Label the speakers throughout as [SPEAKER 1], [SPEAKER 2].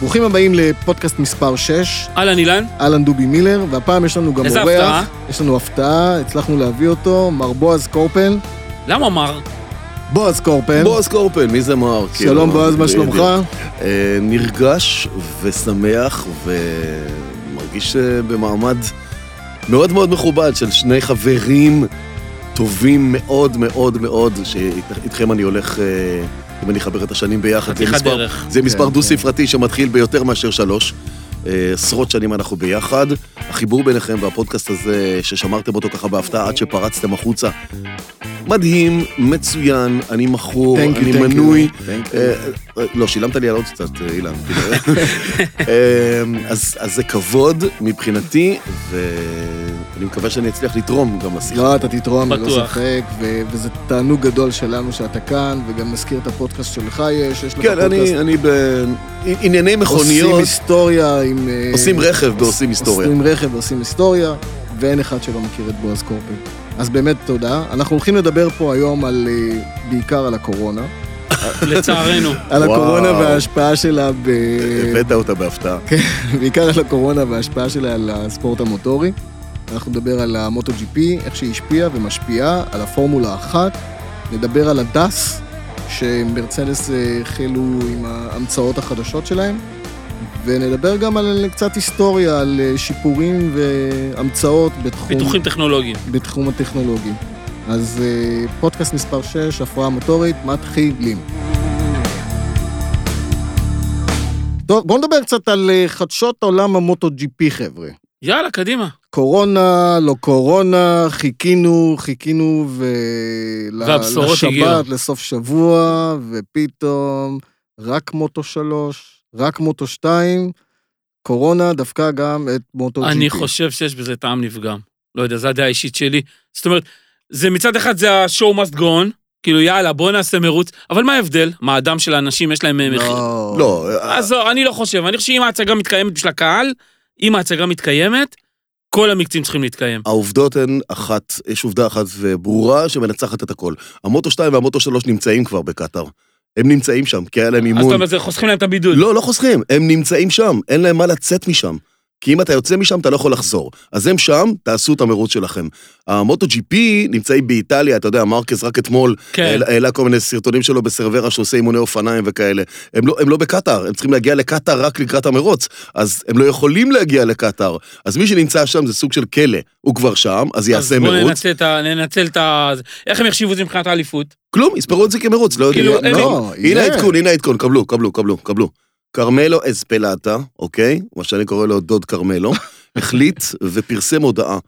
[SPEAKER 1] ברוכים הבאים לפודקאסט מספר 6,
[SPEAKER 2] אהלן אילן,
[SPEAKER 1] אהלן דובי מילר, והפעם יש לנו גם
[SPEAKER 2] איזה
[SPEAKER 1] אורח.
[SPEAKER 2] הפתעה?
[SPEAKER 1] יש לנו הפתעה, הצלחנו להביא אותו, מר בועז קורפל.
[SPEAKER 2] למה מר?
[SPEAKER 1] בועז קורפל.
[SPEAKER 3] בועז קורפל, מי זה מר?
[SPEAKER 1] כן. שלום
[SPEAKER 3] כן,
[SPEAKER 1] בועז, מה
[SPEAKER 3] בדיוק.
[SPEAKER 1] שלומך?
[SPEAKER 3] אה, נרגש ושמח ומרגיש אה, במעמד מאוד מאוד מכובד של שני חברים טובים מאוד מאוד מאוד, שאיתכם אני הולך, אה, אם אני אחבר את השנים ביחד, זה
[SPEAKER 2] חתיכת
[SPEAKER 3] מספר-
[SPEAKER 2] דרך.
[SPEAKER 3] זה מספר
[SPEAKER 1] כן,
[SPEAKER 3] דו-ספרתי שמתחיל ביותר מאשר שלוש. אה, עשרות שנים אנחנו ביחד. החיבור ביניכם והפודקאסט הזה, ששמרתם אותו ככה בהפתעה עד שפרצתם החוצה, מדהים, מצוין, אני מכור,
[SPEAKER 1] Thank you,
[SPEAKER 3] אני
[SPEAKER 1] thank you.
[SPEAKER 3] מנוי.
[SPEAKER 1] Thank you.
[SPEAKER 3] אה, אה, לא, שילמת לי על עוד קצת, אה, אילן. כאילו. אה, אז אז זה כבוד מבחינתי, ואני מקווה שאני אצליח לתרום גם לשיחה.
[SPEAKER 1] לא, אתה תתרום, ללא
[SPEAKER 2] בטוח.
[SPEAKER 1] ספק, ו- וזה תענוג גדול שלנו שאתה כאן, וגם נזכיר את הפודקאסט שלך יש, יש לך
[SPEAKER 3] כן,
[SPEAKER 1] פודקאסט.
[SPEAKER 3] אני אני בענייני
[SPEAKER 1] עושים
[SPEAKER 3] מכוניות,
[SPEAKER 1] היסטוריה עם... אה,
[SPEAKER 3] עושים רכב ועושים היסטוריה.
[SPEAKER 1] עושים רכב ועושים היסטוריה, ואין אחד שלא מכיר את בועז קורפל. אז באמת תודה. אנחנו הולכים לדבר פה היום על, אה, בעיקר על הקורונה.
[SPEAKER 2] לצערנו.
[SPEAKER 1] על
[SPEAKER 3] וואו. אה,
[SPEAKER 1] הקורונה וההשפעה שלה, ב...
[SPEAKER 3] הבאת אותה בהפתעה.
[SPEAKER 1] כן. בעיקר על הקורונה וההשפעה שלה על הספורט המוטורי. אנחנו נדבר על המוטו ג'י פי, איך שהיא השפיעה ומשפיעה, על הפורמולה אחת. נדבר על הדס, שמרצדס אה, החלו עם ההמצאות החדשות שלהם. ונדבר גם על קצת היסטוריה, על אה, שיפורים והמצאות בתחום...
[SPEAKER 2] פיתוחים טכנולוגיים.
[SPEAKER 1] בתחום הטכנולוגי. אז אה, פודקאסט מספר 6, הפרעה מוטורית, מתחילים. טוב, בואו נדבר קצת על אה, חדשות עולם המוטו GP, חבר'ה.
[SPEAKER 2] יאללה, קדימה.
[SPEAKER 1] קורונה, לא קורונה, חיכינו, חיכינו ו... ל-
[SPEAKER 2] והבשורות
[SPEAKER 1] לשבת,
[SPEAKER 2] הגיעו.
[SPEAKER 1] לסוף שבוע, ופתאום רק מוטו 3, רק מוטו 2, קורונה דפקה גם את מוטו GP.
[SPEAKER 2] אני חושב שיש בזה טעם נפגם. לא יודע, זו הדעה האישית שלי. זאת אומרת, זה מצד אחד זה ה-show must go on, כאילו יאללה, בוא נעשה מרוץ, אבל מה ההבדל? מה, הדם של האנשים יש להם אה, מחיר?
[SPEAKER 1] לא.
[SPEAKER 3] לא,
[SPEAKER 2] אז לא, אני לא חושב, אני חושב שאם ההצגה מתקיימת בשביל הקהל, אם ההצגה מתקיימת, כל המקצים צריכים להתקיים.
[SPEAKER 3] העובדות הן אחת, יש עובדה אחת ברורה שמנצחת את הכל. המוטו 2 והמוטו 3 נמצאים כבר בקטאר. הם נמצאים שם, כי היה להם
[SPEAKER 2] אז אתה
[SPEAKER 3] אימון.
[SPEAKER 2] אומר, זה חוסכים להם את הבידוד.
[SPEAKER 3] לא, לא חוסכים, הם נמצאים שם, אין להם מה לצאת משם. כי אם אתה יוצא משם, אתה לא יכול לחזור. אז הם שם, תעשו את המרוץ שלכם. המוטו ג'י פי נמצאים באיטליה, אתה יודע, מרקז רק אתמול
[SPEAKER 2] כן.
[SPEAKER 3] העלה- העלה כל מיני סרטונים שלו בסרברה שעושה אימוני אופניים וכאלה. הם לא, הם לא בקטאר, הם צריכים להגיע לקטאר רק לקראת המרוץ, אז הם לא יכולים להגיע לקטאר. אז מי שנמצא שם זה סוג של כלא, הוא כבר שם, אז
[SPEAKER 2] אז
[SPEAKER 3] יעשה
[SPEAKER 2] בוא
[SPEAKER 3] מרוץ.
[SPEAKER 2] ננצל את ה... ננצל את ה... איך הם יחשיבו את זה מבחינת האליפות?
[SPEAKER 3] כלום, יספרו את זה כמרוץ, לא יודעים.
[SPEAKER 2] כאילו, אין-
[SPEAKER 1] לא,
[SPEAKER 3] הנה
[SPEAKER 1] יהיה.
[SPEAKER 3] העדכון, הנה העדכון, קבלו, קבלו, קבלו, קבלו. כרמלו אספלטה, אוקיי? מה שאני קורא לו דוד כרמלו, החליט ופרסם הודעה.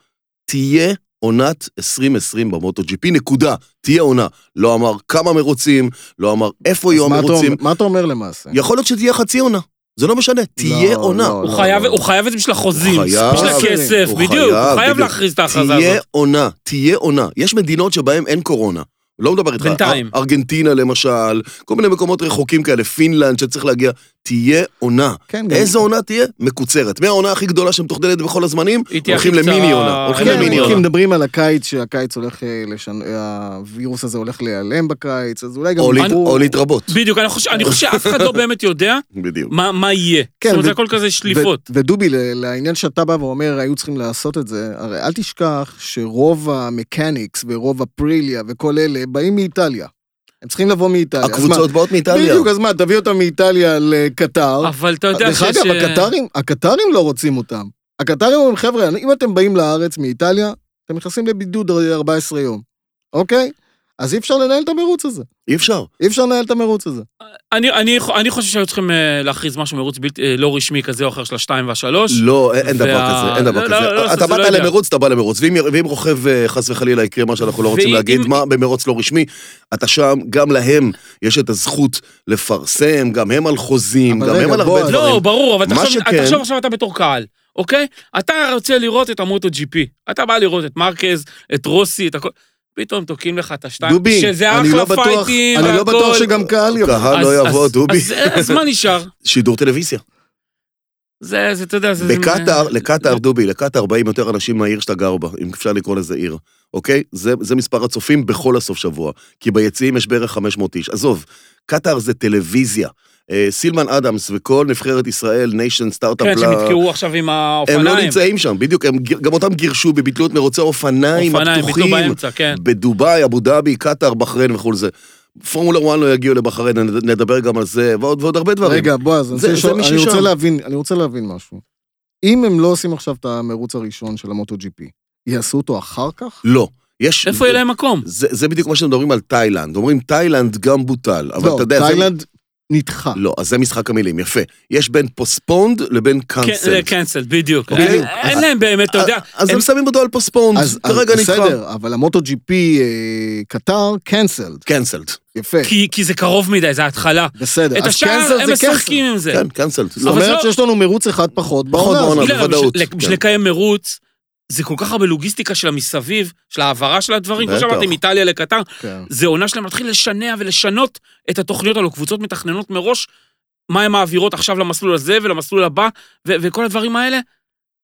[SPEAKER 3] תהיה עונת 2020 במוטו ג'י פי, נקודה. תהיה עונה. לא אמר כמה מרוצים, לא אמר איפה יהיו
[SPEAKER 1] אז מה אתה
[SPEAKER 3] המרוצים.
[SPEAKER 1] אומר- מה אתה אומר למעשה?
[SPEAKER 3] יכול להיות שתהיה חצי עונה. זה לא משנה, תהיה
[SPEAKER 1] לא,
[SPEAKER 3] עונה.
[SPEAKER 1] לא,
[SPEAKER 2] הוא
[SPEAKER 1] לא,
[SPEAKER 2] חייב-
[SPEAKER 1] לא.
[SPEAKER 2] הוא חייב את זה בשביל החוזים,
[SPEAKER 3] הוא חייב.
[SPEAKER 2] בשביל
[SPEAKER 1] הוא
[SPEAKER 2] הכסף,
[SPEAKER 3] חייב,
[SPEAKER 2] בדיוק, הוא
[SPEAKER 3] בדיוק.
[SPEAKER 2] חייב להכריז את ההכרזה
[SPEAKER 3] תהיה
[SPEAKER 2] הזאת.
[SPEAKER 3] עונה, תהיה עונה. יש מדינות שבהן אין קורונה. לא מדבר איתך.
[SPEAKER 2] בינתיים.
[SPEAKER 3] אר- ארגנטינה למשל, כל מיני מקומות רחוקים כאלה, פינלנד שצריך להגיע. תהיה עונה.
[SPEAKER 1] כן, גם-
[SPEAKER 3] איזו עונה תהיה? מקוצרת. מהעונה הכי גדולה שמתוכננת בכל הזמנים,
[SPEAKER 2] היא תהיה
[SPEAKER 3] הולכים
[SPEAKER 2] הכי קצרה.
[SPEAKER 3] למיני עונה. הולכים
[SPEAKER 2] כן,
[SPEAKER 3] למיני
[SPEAKER 1] כן, כי
[SPEAKER 3] עונה.
[SPEAKER 1] מדברים על הקיץ, שהקיץ הולך לשנות, הווירוס הזה הולך להיעלם בקיץ, אז אולי גם...
[SPEAKER 3] או להת-
[SPEAKER 1] דיברו-
[SPEAKER 3] או להתרבות.
[SPEAKER 2] בדיוק, אני חושב- אני חושב שאף אחד לא באמת יודע
[SPEAKER 3] בדיוק.
[SPEAKER 2] מה מה יהיה.
[SPEAKER 1] כן,
[SPEAKER 2] זאת אומרת,
[SPEAKER 1] ו-
[SPEAKER 2] זה הכל כזה שליפות.
[SPEAKER 1] ו- ודובי, ל- לעניין שאתה בא ואומר, היו צריכים לעשות את זה, הרי אל תשכח שרוב המקניקס ורוב הפריליה וכל אלה באים מאיטליה. הם צריכים לבוא מאיטליה. אז מה-
[SPEAKER 3] הקבוצות באות מאיטליה.
[SPEAKER 1] בדיוק, אז מה, תביא אותם מאיטליה לקטר.
[SPEAKER 2] אבל אתה יודע
[SPEAKER 1] דרך
[SPEAKER 2] שיש...
[SPEAKER 1] אגב,
[SPEAKER 3] אה,
[SPEAKER 1] הקטרים, הקטרים לא רוצים אותם. הקטרים אומרים, חבר'ה, אם אתם באים לארץ מאיטליה, אתם נכנסים לבידוד 14 יום, אוקיי? אז אי אפשר לנהל את המרוץ הזה.
[SPEAKER 3] אי אפשר.
[SPEAKER 1] אי אפשר לנהל את המרוץ הזה.
[SPEAKER 2] אני- אני- אני חושב שהיו צריכים אה, להכריז משהו מרוץ בלתי- אה, לא רשמי כזה או אחר של השתיים והשלוש.
[SPEAKER 3] לא, אין- אין דבר
[SPEAKER 2] וה-
[SPEAKER 3] כזה, אין דבר
[SPEAKER 2] לא, לא, לא,
[SPEAKER 3] כזה.
[SPEAKER 2] זה
[SPEAKER 3] אתה
[SPEAKER 2] לא
[SPEAKER 3] באת
[SPEAKER 2] יודע.
[SPEAKER 3] למרוץ, אתה בא למרוץ. ואם ואם רוכב, אה, חס וחלילה, יקרה מה שאנחנו לא רוצים
[SPEAKER 2] ואם-
[SPEAKER 3] להגיד,
[SPEAKER 2] אם-
[SPEAKER 3] מה במרוץ לא רשמי, אתה שם, גם להם יש את הזכות לפרסם, גם הם על חוזים,
[SPEAKER 1] אבל
[SPEAKER 3] גם
[SPEAKER 1] רגע,
[SPEAKER 3] הם על הרבה
[SPEAKER 1] בועז.
[SPEAKER 2] לא,
[SPEAKER 3] דברים.
[SPEAKER 2] ברור, אבל
[SPEAKER 3] מה
[SPEAKER 2] תחשוב,
[SPEAKER 3] שכן-
[SPEAKER 2] תחשוב עכשיו אתה בתור קהל, אוקיי? אתה רוצה לראות את המוטו ג'י פי. אתה בא לראות את מרקז, את רוסי, את הכל. פתאום תוקעים לך את השתיים,
[SPEAKER 1] דובי,
[SPEAKER 2] שזה
[SPEAKER 1] אני לא
[SPEAKER 2] אחלה
[SPEAKER 1] בטוח,
[SPEAKER 2] פייטים,
[SPEAKER 1] אני לא
[SPEAKER 2] והכל.
[SPEAKER 1] בטוח שגם קהל יבוא.
[SPEAKER 3] קהל
[SPEAKER 2] אז-
[SPEAKER 3] לא יבוא,
[SPEAKER 2] אז-
[SPEAKER 3] דובי.
[SPEAKER 2] אז- אז מה נשאר?
[SPEAKER 3] שידור טלוויזיה.
[SPEAKER 2] זה, זה, אתה יודע, זה... לא.
[SPEAKER 3] בקטאר,
[SPEAKER 2] זה-
[SPEAKER 3] לקטאר, דובי, לקטאר באים יותר אנשים מהעיר שאתה גר בה, אם אפשר לקרוא לזה עיר, אוקיי? זה, זה מספר הצופים בכל הסוף שבוע, כי ביציעים יש בערך 500 איש. עזוב, קטאר זה טלוויזיה. אה, סילמן אדמס וכל נבחרת ישראל, ניישן סטארט-אפ,
[SPEAKER 2] כן, שהם
[SPEAKER 3] לה-
[SPEAKER 2] נתקעו עכשיו עם
[SPEAKER 3] הם
[SPEAKER 2] האופניים.
[SPEAKER 3] לא נמצאים שם, בדיוק, הם, גיר- גם אותם גירשו בביטלו את מרוצי האופניים
[SPEAKER 2] אופניים, ביטלו
[SPEAKER 3] הפתוחים.
[SPEAKER 2] באמצע, כן.
[SPEAKER 3] בדובאי, אבו דאבי, קטאר, בחריין וכל זה. פורמולה 1 לא יגיעו לבחריין, נד- נדבר גם על זה, ועוד, ועוד הרבה דברים.
[SPEAKER 1] רגע, בועז, אני רוצה
[SPEAKER 3] זה-
[SPEAKER 1] לשאול-
[SPEAKER 3] זה מי
[SPEAKER 1] אני רוצה
[SPEAKER 3] ששם.
[SPEAKER 1] להבין, אני רוצה להבין משהו. אם הם לא עושים עכשיו את המרוץ הראשון של המוטו GP, יעשו אותו אחר כך?
[SPEAKER 3] לא. יש...
[SPEAKER 2] איפה יהיה להם מקום?
[SPEAKER 3] זה, זה בדיוק מה שמדברים על תאילנד. אומרים תאילנד גם בוטל, אבל
[SPEAKER 1] לא,
[SPEAKER 3] אתה יודע...
[SPEAKER 1] תאילנד נדחה.
[SPEAKER 3] זה... לא, אז זה משחק המילים, יפה. יש בין פוספונד לבין
[SPEAKER 2] כן,
[SPEAKER 3] קאנסל.
[SPEAKER 2] קאנסל, בדיוק.
[SPEAKER 3] אוקיי. אה,
[SPEAKER 2] אין- אין להם באמת, אתה יודע,
[SPEAKER 3] אז
[SPEAKER 2] הם-
[SPEAKER 3] הם שמים אותו על פוספונד,
[SPEAKER 1] אז אז
[SPEAKER 3] לא, כרגע נדחה.
[SPEAKER 1] בסדר, אבל המוטו GP אה, קטר, קאנסלד.
[SPEAKER 3] קאנסלד.
[SPEAKER 1] יפה,
[SPEAKER 2] כי- כי זה קרוב מדי, זה ההתחלה.
[SPEAKER 1] בסדר.
[SPEAKER 2] את
[SPEAKER 1] אז
[SPEAKER 2] השאר
[SPEAKER 1] קאנסלד
[SPEAKER 2] הם
[SPEAKER 1] זה קאנסלד.
[SPEAKER 2] משחקים עם זה.
[SPEAKER 3] כן, קאנסלד.
[SPEAKER 1] זאת
[SPEAKER 2] אבל זה
[SPEAKER 1] אומרת
[SPEAKER 2] לא-
[SPEAKER 1] שיש לנו מרוץ אחד פחות
[SPEAKER 3] פחות
[SPEAKER 1] בעונה.
[SPEAKER 3] בעונה.
[SPEAKER 1] הזאת.
[SPEAKER 2] לא, אבל
[SPEAKER 3] בוודאות,
[SPEAKER 2] בשביל-
[SPEAKER 3] כן.
[SPEAKER 2] בשביל לקיים מרוץ, זה כל כך הרבה לוגיסטיקה של המסביב, של ההעברה של הדברים, כמו
[SPEAKER 3] בטח.
[SPEAKER 2] שאמרתי, מאיטליה לקטר,
[SPEAKER 1] כן.
[SPEAKER 2] זה עונה שלהם להתחיל לשנע ולשנות את התוכניות הללו. קבוצות מתכננות מראש מה הן מעבירות עכשיו למסלול הזה ולמסלול הבא, ו- וכל הדברים האלה.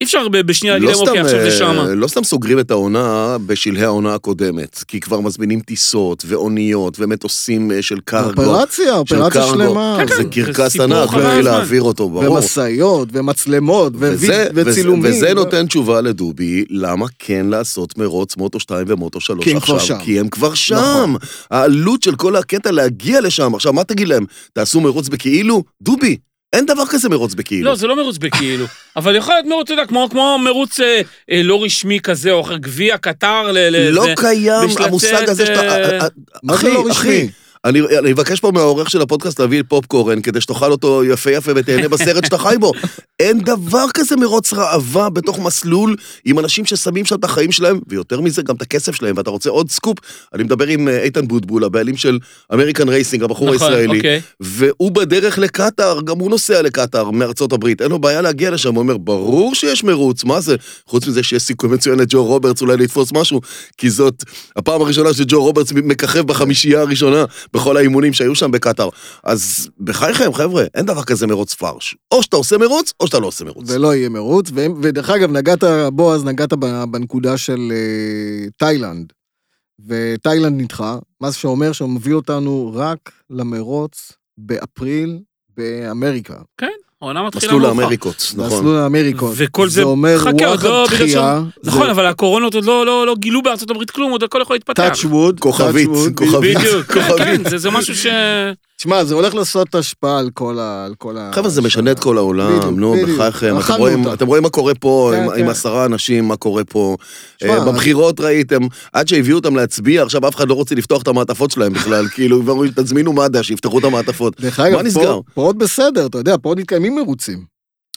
[SPEAKER 2] אי אפשר ב- בשנייה להגיד
[SPEAKER 3] לא
[SPEAKER 2] להם,
[SPEAKER 3] סתם,
[SPEAKER 2] אוקיי, עכשיו זה
[SPEAKER 3] אה,
[SPEAKER 2] שמה.
[SPEAKER 3] לא סתם סוגרים את העונה בשלהי העונה הקודמת, כי כבר מזמינים טיסות ואוניות ומטוסים אה,
[SPEAKER 1] לא,
[SPEAKER 3] של קרגו.
[SPEAKER 1] אופרציה,
[SPEAKER 3] של
[SPEAKER 1] אופרציה
[SPEAKER 3] קרגו.
[SPEAKER 1] שלמה.
[SPEAKER 2] כן, כן.
[SPEAKER 3] זה קרקס
[SPEAKER 2] סיפור
[SPEAKER 3] ענק,
[SPEAKER 2] חבל
[SPEAKER 3] לא
[SPEAKER 2] על
[SPEAKER 3] יהיה
[SPEAKER 2] הזמן.
[SPEAKER 3] להעביר אותו, ברור.
[SPEAKER 1] ומשאיות, ומצלמות, וויד-
[SPEAKER 3] וזה- וזה-
[SPEAKER 1] וצילומים. לא-
[SPEAKER 3] וזה נותן תשובה לדובי, למה כן לעשות מרוץ מוטו 2 ומוטו 3
[SPEAKER 1] כי הם כבר
[SPEAKER 3] עכשיו?
[SPEAKER 1] שם.
[SPEAKER 3] כי הם כבר שם.
[SPEAKER 1] נכון.
[SPEAKER 3] העלות של כל הקטע להגיע לשם, עכשיו מה תגיד להם? תעשו מרוץ בכאילו? דובי, אין דבר כזה מרוץ בכאילו.
[SPEAKER 2] לא, זה לא מרוץ בכאילו, אבל יכול להיות מרוץ, אתה יודע, כמו- כמו מרוץ אה, אה, לא רשמי כזה או אחר, גביע, קטר, ל... ל-
[SPEAKER 3] לא
[SPEAKER 2] זה.
[SPEAKER 3] קיים
[SPEAKER 2] בשלטת,
[SPEAKER 3] המושג הזה
[SPEAKER 2] אה,
[SPEAKER 3] שאתה...
[SPEAKER 1] מה זה לא רשמי?
[SPEAKER 3] אני, אני אבקש פה מהעורך של הפודקאסט להביא לי פופקורן, כדי שתאכל אותו יפה יפה ותהנה בסרט שאתה חי בו. אין דבר כזה מרוץ ראווה בתוך מסלול עם אנשים ששמים שם את החיים שלהם, ויותר מזה, גם את הכסף שלהם, ואתה רוצה עוד סקופ? אני מדבר עם אה, איתן בוטבול, הבעלים של אמריקן רייסינג, הבחור
[SPEAKER 2] נכון,
[SPEAKER 3] הישראלי,
[SPEAKER 2] אוקיי.
[SPEAKER 3] והוא בדרך לקטאר, גם הוא נוסע לקטאר מארצות הברית, אין לו בעיה להגיע לשם, הוא אומר, ברור שיש מרוץ, מה זה? חוץ מזה שיש סיכוי מצוין לג'ו רוברטס אולי לתפוס משהו, כי זאת הפעם הראשונה שג'ו רוברטס מככב בחמישייה הראשונה בכל האימונים שהיו שם בקטאר. אז בחייכם, חבר'ה, אין דבר כזה מרוץ פרש. או שאתה עושה מרוץ, או שאתה לא עושה מרוץ.
[SPEAKER 1] ולא יהיה מרוץ, והם- ודרך אגב, נגעת, בועז, נגעת ב- בנקודה של אה, תאילנד. ותאילנד נדחה, מה שאומר שהוא מביא אותנו רק למרוץ באפריל באמריקה.
[SPEAKER 2] העונה מתחילה
[SPEAKER 3] מסלול
[SPEAKER 2] מאוחר.
[SPEAKER 3] לאמריקות, נכון.
[SPEAKER 1] במסלול האמריקות.
[SPEAKER 2] וכל זה-
[SPEAKER 1] זה אומר
[SPEAKER 2] חכה, עוד
[SPEAKER 1] וואחד
[SPEAKER 2] לא, בגלל
[SPEAKER 1] דחייה.
[SPEAKER 2] נכון, אבל הקורונות עוד לא- לא לא גילו בארצות הברית כלום, עוד הכל יכול להתפתח.
[SPEAKER 1] טאצ' ווד.
[SPEAKER 3] כוכבית, כוכבית.
[SPEAKER 2] בדיוק, כן,
[SPEAKER 3] כוכבית.
[SPEAKER 2] כן, זה- זה משהו ש...
[SPEAKER 3] אה,
[SPEAKER 1] תשמע, זה הולך לעשות השפעה על כל ה... על כל ה-
[SPEAKER 3] חבר'ה, זה משנה את כל
[SPEAKER 1] בדיוק,
[SPEAKER 3] העולם, נו,
[SPEAKER 1] בדיוק.
[SPEAKER 3] בחייכם. אתם
[SPEAKER 1] אכלנו
[SPEAKER 3] רואים-
[SPEAKER 1] אותה.
[SPEAKER 3] אתם רואים מה קורה פה
[SPEAKER 1] כן,
[SPEAKER 3] עם-
[SPEAKER 1] כן.
[SPEAKER 3] עם עשרה אנשים, מה קורה פה.
[SPEAKER 1] שמע,
[SPEAKER 3] אה, בבחירות ראיתם, עד שהביאו אותם להצביע, עכשיו אף אחד לא רוצה לפתוח את המעטפות שלהם בכלל, כאילו, כבר אומרים, תזמינו מד"א, שיפתחו את המעטפות.
[SPEAKER 1] דרך אגב,
[SPEAKER 3] מה נסגר?
[SPEAKER 1] פה- פה עוד בסדר, אתה יודע, פה עוד מתקיימים מרוצים.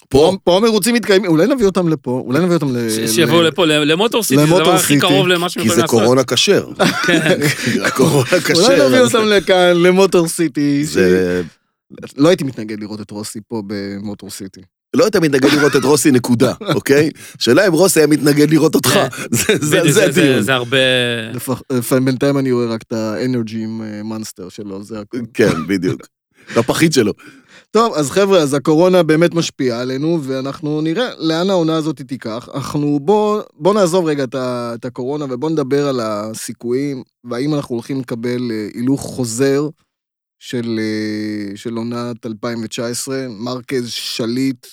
[SPEAKER 3] פה,
[SPEAKER 1] פה המרוצים מתקיימים, אולי נביא אותם לפה, אולי נביא אותם ל...
[SPEAKER 2] ש- שיבואו
[SPEAKER 1] ל-
[SPEAKER 2] לפה, ל- למוטור סיטי, זה
[SPEAKER 1] למוטור
[SPEAKER 2] הדבר הכי
[SPEAKER 1] סיטי,
[SPEAKER 2] קרוב למה שהם
[SPEAKER 3] כי
[SPEAKER 2] יכולים
[SPEAKER 3] זה
[SPEAKER 2] לעשות.
[SPEAKER 3] קורונה כשר. הקורונה
[SPEAKER 1] כן. אולי
[SPEAKER 3] כשר.
[SPEAKER 1] נביא
[SPEAKER 3] אז
[SPEAKER 1] אותם לכאן, למוטור סיטי. ש-
[SPEAKER 3] זה-
[SPEAKER 1] לא הייתי מתנגד לראות את רוסי פה במוטור סיטי.
[SPEAKER 3] לא היית מתנגד לראות את רוסי, נקודה, אוקיי? שאלה אם רוסי היה מתנגד לראות אותך. זה-
[SPEAKER 2] כן.
[SPEAKER 3] זה-
[SPEAKER 2] בדיוק,
[SPEAKER 3] זה
[SPEAKER 2] זה- זה-
[SPEAKER 3] הדיון.
[SPEAKER 2] זה הרבה... כן.
[SPEAKER 1] לפח- לפעמים בינתיים אני רואה רק את האנרג'י עם אה, מאנסטר שלו, זה הכול.
[SPEAKER 3] כן, בדיוק. הפחית שלו.
[SPEAKER 1] טוב, אז חבר'ה, אז הקורונה באמת משפיעה עלינו, ואנחנו נראה לאן העונה הזאת תיקח. אנחנו, בוא, בוא נעזוב רגע את, ה- את הקורונה ובוא נדבר על הסיכויים, והאם אנחנו הולכים לקבל אה, הילוך חוזר של, אה, של עונת 2019, מרקז שליט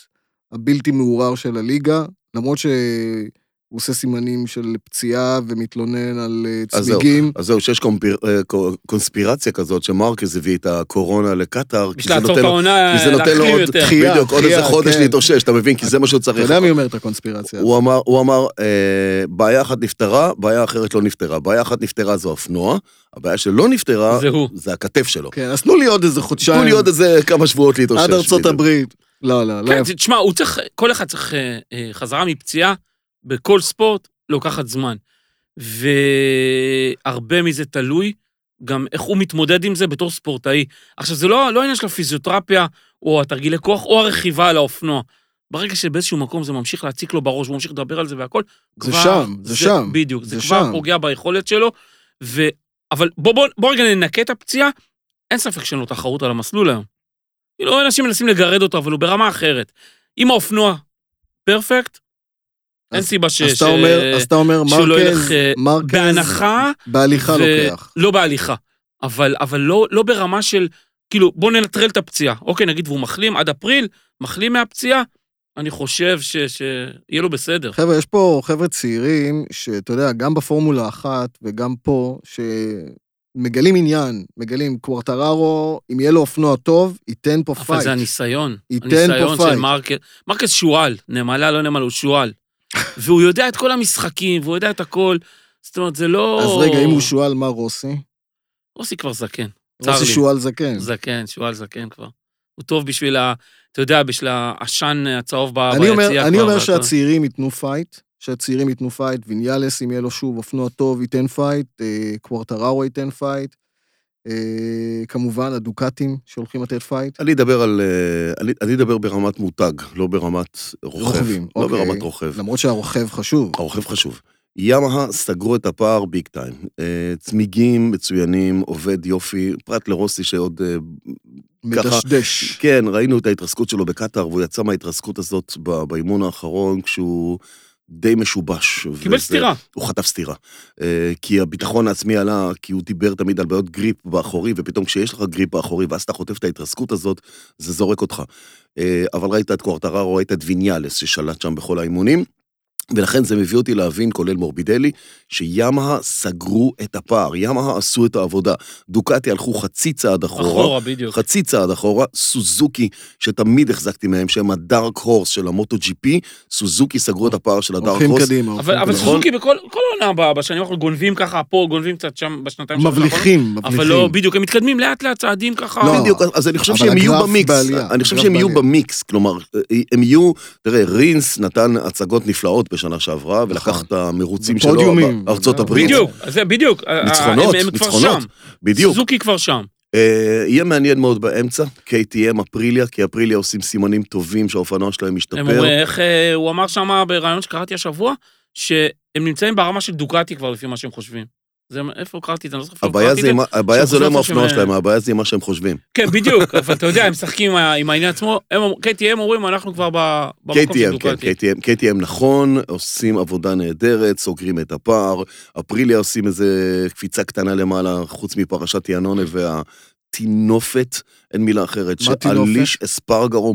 [SPEAKER 1] הבלתי מעורער של הליגה, למרות שהוא עושה סימנים של פציעה ומתלונן על אה,
[SPEAKER 3] אז זהו.
[SPEAKER 1] צמיגים.
[SPEAKER 3] אז זהו, שיש קומפיר- אה, קו- קונספירציה כזאת שמרקס הביא את הקורונה לקטאר, כי
[SPEAKER 2] בשביל
[SPEAKER 3] זה
[SPEAKER 2] לעצור
[SPEAKER 3] נותן
[SPEAKER 2] את
[SPEAKER 3] לו...
[SPEAKER 2] העונה,
[SPEAKER 3] כי זה נותן לו
[SPEAKER 2] להחלים
[SPEAKER 3] עוד,
[SPEAKER 2] יותר.
[SPEAKER 1] דחייה,
[SPEAKER 3] בדיוק, עוד איזה
[SPEAKER 1] דחייה,
[SPEAKER 3] חודש
[SPEAKER 1] כן.
[SPEAKER 3] להתאושש, אתה מבין? כי זה מה שהוא
[SPEAKER 1] אתה
[SPEAKER 3] צריך.
[SPEAKER 1] יודע מי אומר את הקונספירציה?
[SPEAKER 3] הוא אמר, הוא אמר, אה, בעיה אחת נפתרה, בעיה אחרת לא נפתרה. בעיה אחת נפתרה זו אופנוע, הבעיה שלא נפתרה
[SPEAKER 2] זה הוא.
[SPEAKER 3] זה הכתף שלו.
[SPEAKER 1] כן, אז תנו לי עוד איזה חודשיים.
[SPEAKER 3] תנו לי עוד איזה כמה שבועות להתאושש.
[SPEAKER 1] עד ארצות
[SPEAKER 3] בדיוק.
[SPEAKER 1] הברית. לא, לא, לא
[SPEAKER 2] כן,
[SPEAKER 1] יפה.
[SPEAKER 2] תשמע, הוא צריך, כל אחד צריך אה, אה, חזרה מפציעה בכל ספורט, לוקחת זמן. והרבה מזה תלוי גם איך הוא מתמודד עם זה בתור ספורטאי. עכשיו, זה לא, לא העניין של הפיזיותרפיה, או התרגילי כוח, או הרכיבה על האופנוע. ברגע שבאיזשהו מקום זה ממשיך להציק לו בראש, הוא ממשיך לדבר על זה והכל,
[SPEAKER 1] זה שם, זה שם.
[SPEAKER 2] בדיוק, זה,
[SPEAKER 1] זה
[SPEAKER 2] כבר
[SPEAKER 1] שם.
[SPEAKER 2] פוגע ביכולת שלו. ו... אבל בוא, בוא, בוא רגע ננקה את הפציעה, אין ספק שאין לו תחרות על המסלול היום. כאילו, אנשים מנסים לגרד אותו, אבל הוא ברמה אחרת. אם האופנוע פרפקט, אין
[SPEAKER 1] אז-
[SPEAKER 2] סיבה ש...
[SPEAKER 1] אז אתה
[SPEAKER 2] ש-
[SPEAKER 1] אומר, אז אתה כן, אומר,
[SPEAKER 2] אה, שהוא לא ילך,
[SPEAKER 1] מרקז,
[SPEAKER 2] אה,
[SPEAKER 1] מרקז,
[SPEAKER 2] בהנחה...
[SPEAKER 1] בהליכה
[SPEAKER 2] ו-
[SPEAKER 1] לוקח.
[SPEAKER 2] לא בהליכה, אבל, אבל לא, לא ברמה של, כאילו, בוא ננטרל את הפציעה. אוקיי, נגיד והוא מחלים עד אפריל, מחלים מהפציעה, אני חושב ש- שיהיה לו בסדר.
[SPEAKER 1] חבר'ה, יש פה חבר'ה צעירים, שאתה יודע, גם בפורמולה אחת וגם פה, שמגלים עניין, מגלים קוורטררו, אם יהיה לו אופנוע טוב, ייתן פה
[SPEAKER 2] אבל
[SPEAKER 1] פייט.
[SPEAKER 2] זה הניסיון.
[SPEAKER 1] ייתן פה
[SPEAKER 2] הניסיון של
[SPEAKER 1] פייט.
[SPEAKER 2] מרקס. מרקס שועל, נמלה לא נמלה, הוא שועל. והוא יודע את כל המשחקים, והוא יודע את הכל. זאת אומרת, זה לא...
[SPEAKER 1] אז רגע, אם הוא שועל, מה רוסי?
[SPEAKER 2] רוסי כבר זקן. צר
[SPEAKER 1] רוסי
[SPEAKER 2] לי.
[SPEAKER 1] שועל זקן.
[SPEAKER 2] זקן, שועל זקן כבר. הוא טוב בשביל ה... אתה יודע, בשביל העשן הצהוב ב-
[SPEAKER 1] אני
[SPEAKER 2] ביציע
[SPEAKER 1] אומר-
[SPEAKER 2] כבר.
[SPEAKER 1] אני אומר
[SPEAKER 2] ואתה-
[SPEAKER 1] שהצעירים ייתנו פייט, שהצעירים ייתנו פייט, ויניאלס, אם יהיה לו שוב אופנוע טוב, ייתן פייט, אה, קוורטררו ייתן פייט, אה, כמובן הדוקטים שהולכים לתת פייט.
[SPEAKER 3] אני אדבר על... אה, אני- אני אדבר ברמת מותג, לא ברמת רוכב.
[SPEAKER 1] רוכבים,
[SPEAKER 3] לא
[SPEAKER 1] אוקיי.
[SPEAKER 3] ברמת רוכב.
[SPEAKER 1] למרות שהרוכב חשוב.
[SPEAKER 3] הרוכב חשוב. ימאה סגרו את הפער ביג טיים. אה, צמיגים מצוינים, עובד יופי, פרט לרוסי שעוד... אה, ככה-
[SPEAKER 1] מדשדש.
[SPEAKER 3] כן, ראינו את ההתרסקות שלו בקטאר, והוא יצא מההתרסקות הזאת ב- באימון האחרון כשהוא די משובש.
[SPEAKER 2] קיבל
[SPEAKER 3] וזה-
[SPEAKER 2] סטירה.
[SPEAKER 3] הוא חטף סטירה. אה, כי הביטחון העצמי עלה, כי הוא דיבר תמיד על בעיות גריפ באחורי, ופתאום כשיש לך גריפ באחורי ואז אתה חוטף את ההתרסקות הזאת, זה זורק אותך. אה, אבל ראית את קוארטררו, ראית את ויניאלס ששלט שם בכל האימונים, ולכן זה מביא אותי להבין, כולל מורבידלי, שימאה סגרו את הפער, ימאה עשו את העבודה. דוקטי הלכו חצי צעד אחורה.
[SPEAKER 2] אחורה, בדיוק.
[SPEAKER 3] חצי צעד אחורה, סוזוקי, שתמיד החזקתי מהם, שהם הדארק הורס של המוטו ג'י פי, סוזוקי סגרו את הפער של הדארק
[SPEAKER 1] הולכים
[SPEAKER 3] הורס.
[SPEAKER 1] קדימה.
[SPEAKER 2] אבל,
[SPEAKER 1] הולכים
[SPEAKER 2] אבל
[SPEAKER 1] קדימה.
[SPEAKER 3] נכון.
[SPEAKER 2] סוזוקי בכל כל עונה הבאה, בשנים האחרונות גונבים ככה פה, גונבים קצת שם בשנתיים שלוש האחרונות,
[SPEAKER 1] מבליחים, מבליחים.
[SPEAKER 2] נכון. אבל לא, בדיוק, הם מתקדמים לאט לאט צעדים ככה.
[SPEAKER 1] לא.
[SPEAKER 3] בדיוק, אז אני חושב
[SPEAKER 1] אבל
[SPEAKER 3] שהם יהיו
[SPEAKER 1] הגרף
[SPEAKER 3] במיקס,
[SPEAKER 1] בעלייה,
[SPEAKER 3] אני חושב
[SPEAKER 1] הגרף
[SPEAKER 3] שהם יהיו
[SPEAKER 1] בעלייה.
[SPEAKER 3] במיקס, כלומר, הם יהיו, תראה, רינס נתן הצגות נפלאות בשנה שעברה, ולקח
[SPEAKER 1] נכון.
[SPEAKER 3] את המרוצים שלו,
[SPEAKER 1] ופודיומים.
[SPEAKER 3] ארצות הברית,
[SPEAKER 2] בדיוק, אז זה בדיוק. אה,
[SPEAKER 3] ניצחונות,
[SPEAKER 2] הם, הם כבר
[SPEAKER 3] ניצחונות.
[SPEAKER 2] שם.
[SPEAKER 3] בדיוק.
[SPEAKER 2] סוזוקי כבר שם.
[SPEAKER 3] אה, יהיה מעניין מאוד באמצע, KTM אפריליה, כי אפריליה עושים סימנים טובים שהאופנוע שלהם
[SPEAKER 2] הם
[SPEAKER 3] משתפר.
[SPEAKER 2] אומרים, איך, אה, הוא אמר שם בראיון שקראתי השבוע, שהם נמצאים ברמה של דוקטי כבר לפי מה שהם חושבים. זה, איפה קראתי את זה? אני לא זוכר איפה
[SPEAKER 3] הבעיה
[SPEAKER 2] קראתי
[SPEAKER 3] זה
[SPEAKER 2] את
[SPEAKER 3] עם
[SPEAKER 2] זה.
[SPEAKER 3] ה- הבעיה זה לא עם
[SPEAKER 2] שהם חושבים
[SPEAKER 3] האופנוע
[SPEAKER 2] שהם-
[SPEAKER 3] שלהם, הבעיה זה עם מה שהם חושבים.
[SPEAKER 2] כן, בדיוק, אבל אתה יודע, הם משחקים עם ה- עם העניין עצמו. הם אומרים- KTM אומרים, אנחנו כבר ב- במקום של
[SPEAKER 3] KTM, כן,
[SPEAKER 2] דוקטי.
[SPEAKER 3] KTM, KTM נכון, עושים עבודה נהדרת, סוגרים את הפער, אפריליה עושים איזה קפיצה קטנה למעלה, חוץ מפרשת ינונה והטינופת, אין מילה אחרת,
[SPEAKER 1] מה טינופת?
[SPEAKER 3] שאליש אספרגרו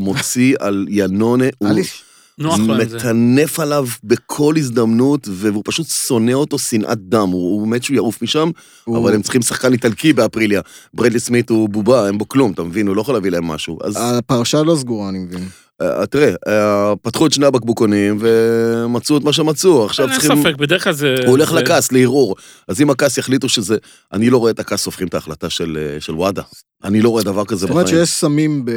[SPEAKER 3] מוציא על ינונה, הוא
[SPEAKER 1] אליש,
[SPEAKER 2] נוח לו עם זה.
[SPEAKER 3] מטנף עליו בכל הזדמנות, והוא פשוט שונא אותו שנאת דם, הוא הוא מת שהוא יעוף משם,
[SPEAKER 1] הוא-
[SPEAKER 3] אבל הם צריכים שחקן איטלקי באפריליה. ברדלי סמית הוא בובה, אין בו כלום, אתה מבין? הוא לא יכול להביא להם משהו. אז
[SPEAKER 1] הפרשה לא סגורה, אני מבין.
[SPEAKER 3] אה, תראה, אה, פתחו את שני הבקבוקונים ומצאו את מה שמצאו, עכשיו
[SPEAKER 2] אין
[SPEAKER 3] צריכים...
[SPEAKER 2] ספק, בדרך כלל זה...
[SPEAKER 3] הוא הולך
[SPEAKER 2] זה-
[SPEAKER 3] לכעס, לערעור. אז אם הכעס יחליטו שזה... אני לא רואה את הכעס הופכים את ההחלטה של אה, של וואדה. אני לא רואה דבר כזה
[SPEAKER 1] זאת אומרת
[SPEAKER 3] בחיים.
[SPEAKER 1] שיש סמים, ב...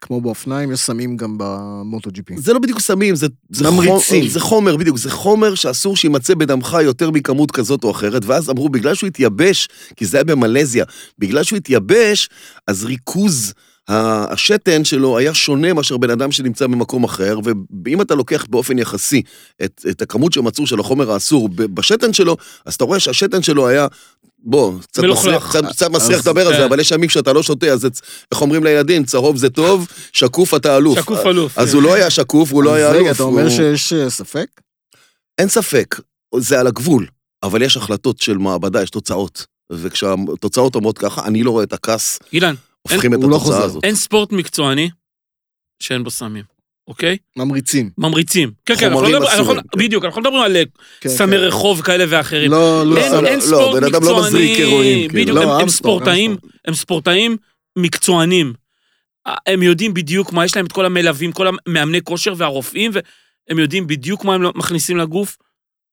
[SPEAKER 1] כמו באופניים, יש סמים גם במוטו ג'י פי.
[SPEAKER 3] זה לא בדיוק סמים, זה, זה,
[SPEAKER 1] ממריצים.
[SPEAKER 3] חומר, זה חומר, בדיוק, זה חומר שאסור שיימצא בדמך יותר מכמות כזאת או אחרת, ואז אמרו, בגלל שהוא התייבש, כי זה היה במלזיה, בגלל שהוא התייבש, אז ריכוז ה- השתן שלו היה שונה מאשר בן אדם שנמצא במקום אחר, ואם אתה לוקח באופן יחסי את, את הכמות שמצאו של החומר האסור ב- בשתן שלו, אז אתה רואה שהשתן שלו היה... בוא, קצת
[SPEAKER 2] מלוכלך.
[SPEAKER 3] מסריח, קצת- קצת מסריח
[SPEAKER 1] אז-
[SPEAKER 3] לדבר על
[SPEAKER 2] כן.
[SPEAKER 3] זה, אבל יש ימים שאתה לא שותה, אז זה- איך אומרים לילדים, צהוב זה טוב, שקוף אתה אלוף.
[SPEAKER 2] שקוף אלוף.
[SPEAKER 3] אז הוא לא היה שקוף, הוא לא היה
[SPEAKER 1] כן. אז
[SPEAKER 3] אלוף.
[SPEAKER 1] רגע, אתה אומר
[SPEAKER 3] הוא-
[SPEAKER 1] שיש אה, ספק?
[SPEAKER 3] אין ספק, זה על הגבול, אבל יש החלטות של מעבדה, יש תוצאות. וכשהתוצאות אומרות ככה, אני לא רואה את הכעס,
[SPEAKER 2] אילן,
[SPEAKER 3] הופכים את
[SPEAKER 1] הוא לא
[SPEAKER 3] התוצאה
[SPEAKER 1] חוזר.
[SPEAKER 3] הזאת.
[SPEAKER 2] אין ספורט מקצועני שאין בו סמים, אוקיי?
[SPEAKER 1] ממריצים.
[SPEAKER 2] ממריצים. כן, כן, אנחנו
[SPEAKER 3] חומרים
[SPEAKER 2] לא מדברים- אנחנו
[SPEAKER 3] אסורים,
[SPEAKER 2] לא- בדיוק, אנחנו לא מדברים על אה,
[SPEAKER 1] כן,
[SPEAKER 2] סמי
[SPEAKER 1] כן.
[SPEAKER 2] רחוב כאלה ואחרים.
[SPEAKER 1] לא, לא,
[SPEAKER 2] אין
[SPEAKER 3] לא,
[SPEAKER 2] אין
[SPEAKER 3] לא,
[SPEAKER 2] ספורט
[SPEAKER 3] בן אדם לא מזריק
[SPEAKER 2] מקצועני,
[SPEAKER 3] הירואין, כאילו.
[SPEAKER 2] בדיוק,
[SPEAKER 1] לא,
[SPEAKER 2] הם- הם
[SPEAKER 1] אמסטור,
[SPEAKER 2] ספורטאים, הם ספורטאים מקצוענים. אה, הם יודעים בדיוק מה, יש להם את כל המלווים, כל המאמני כושר והרופאים, והם יודעים בדיוק מה הם לא- מכניסים לגוף.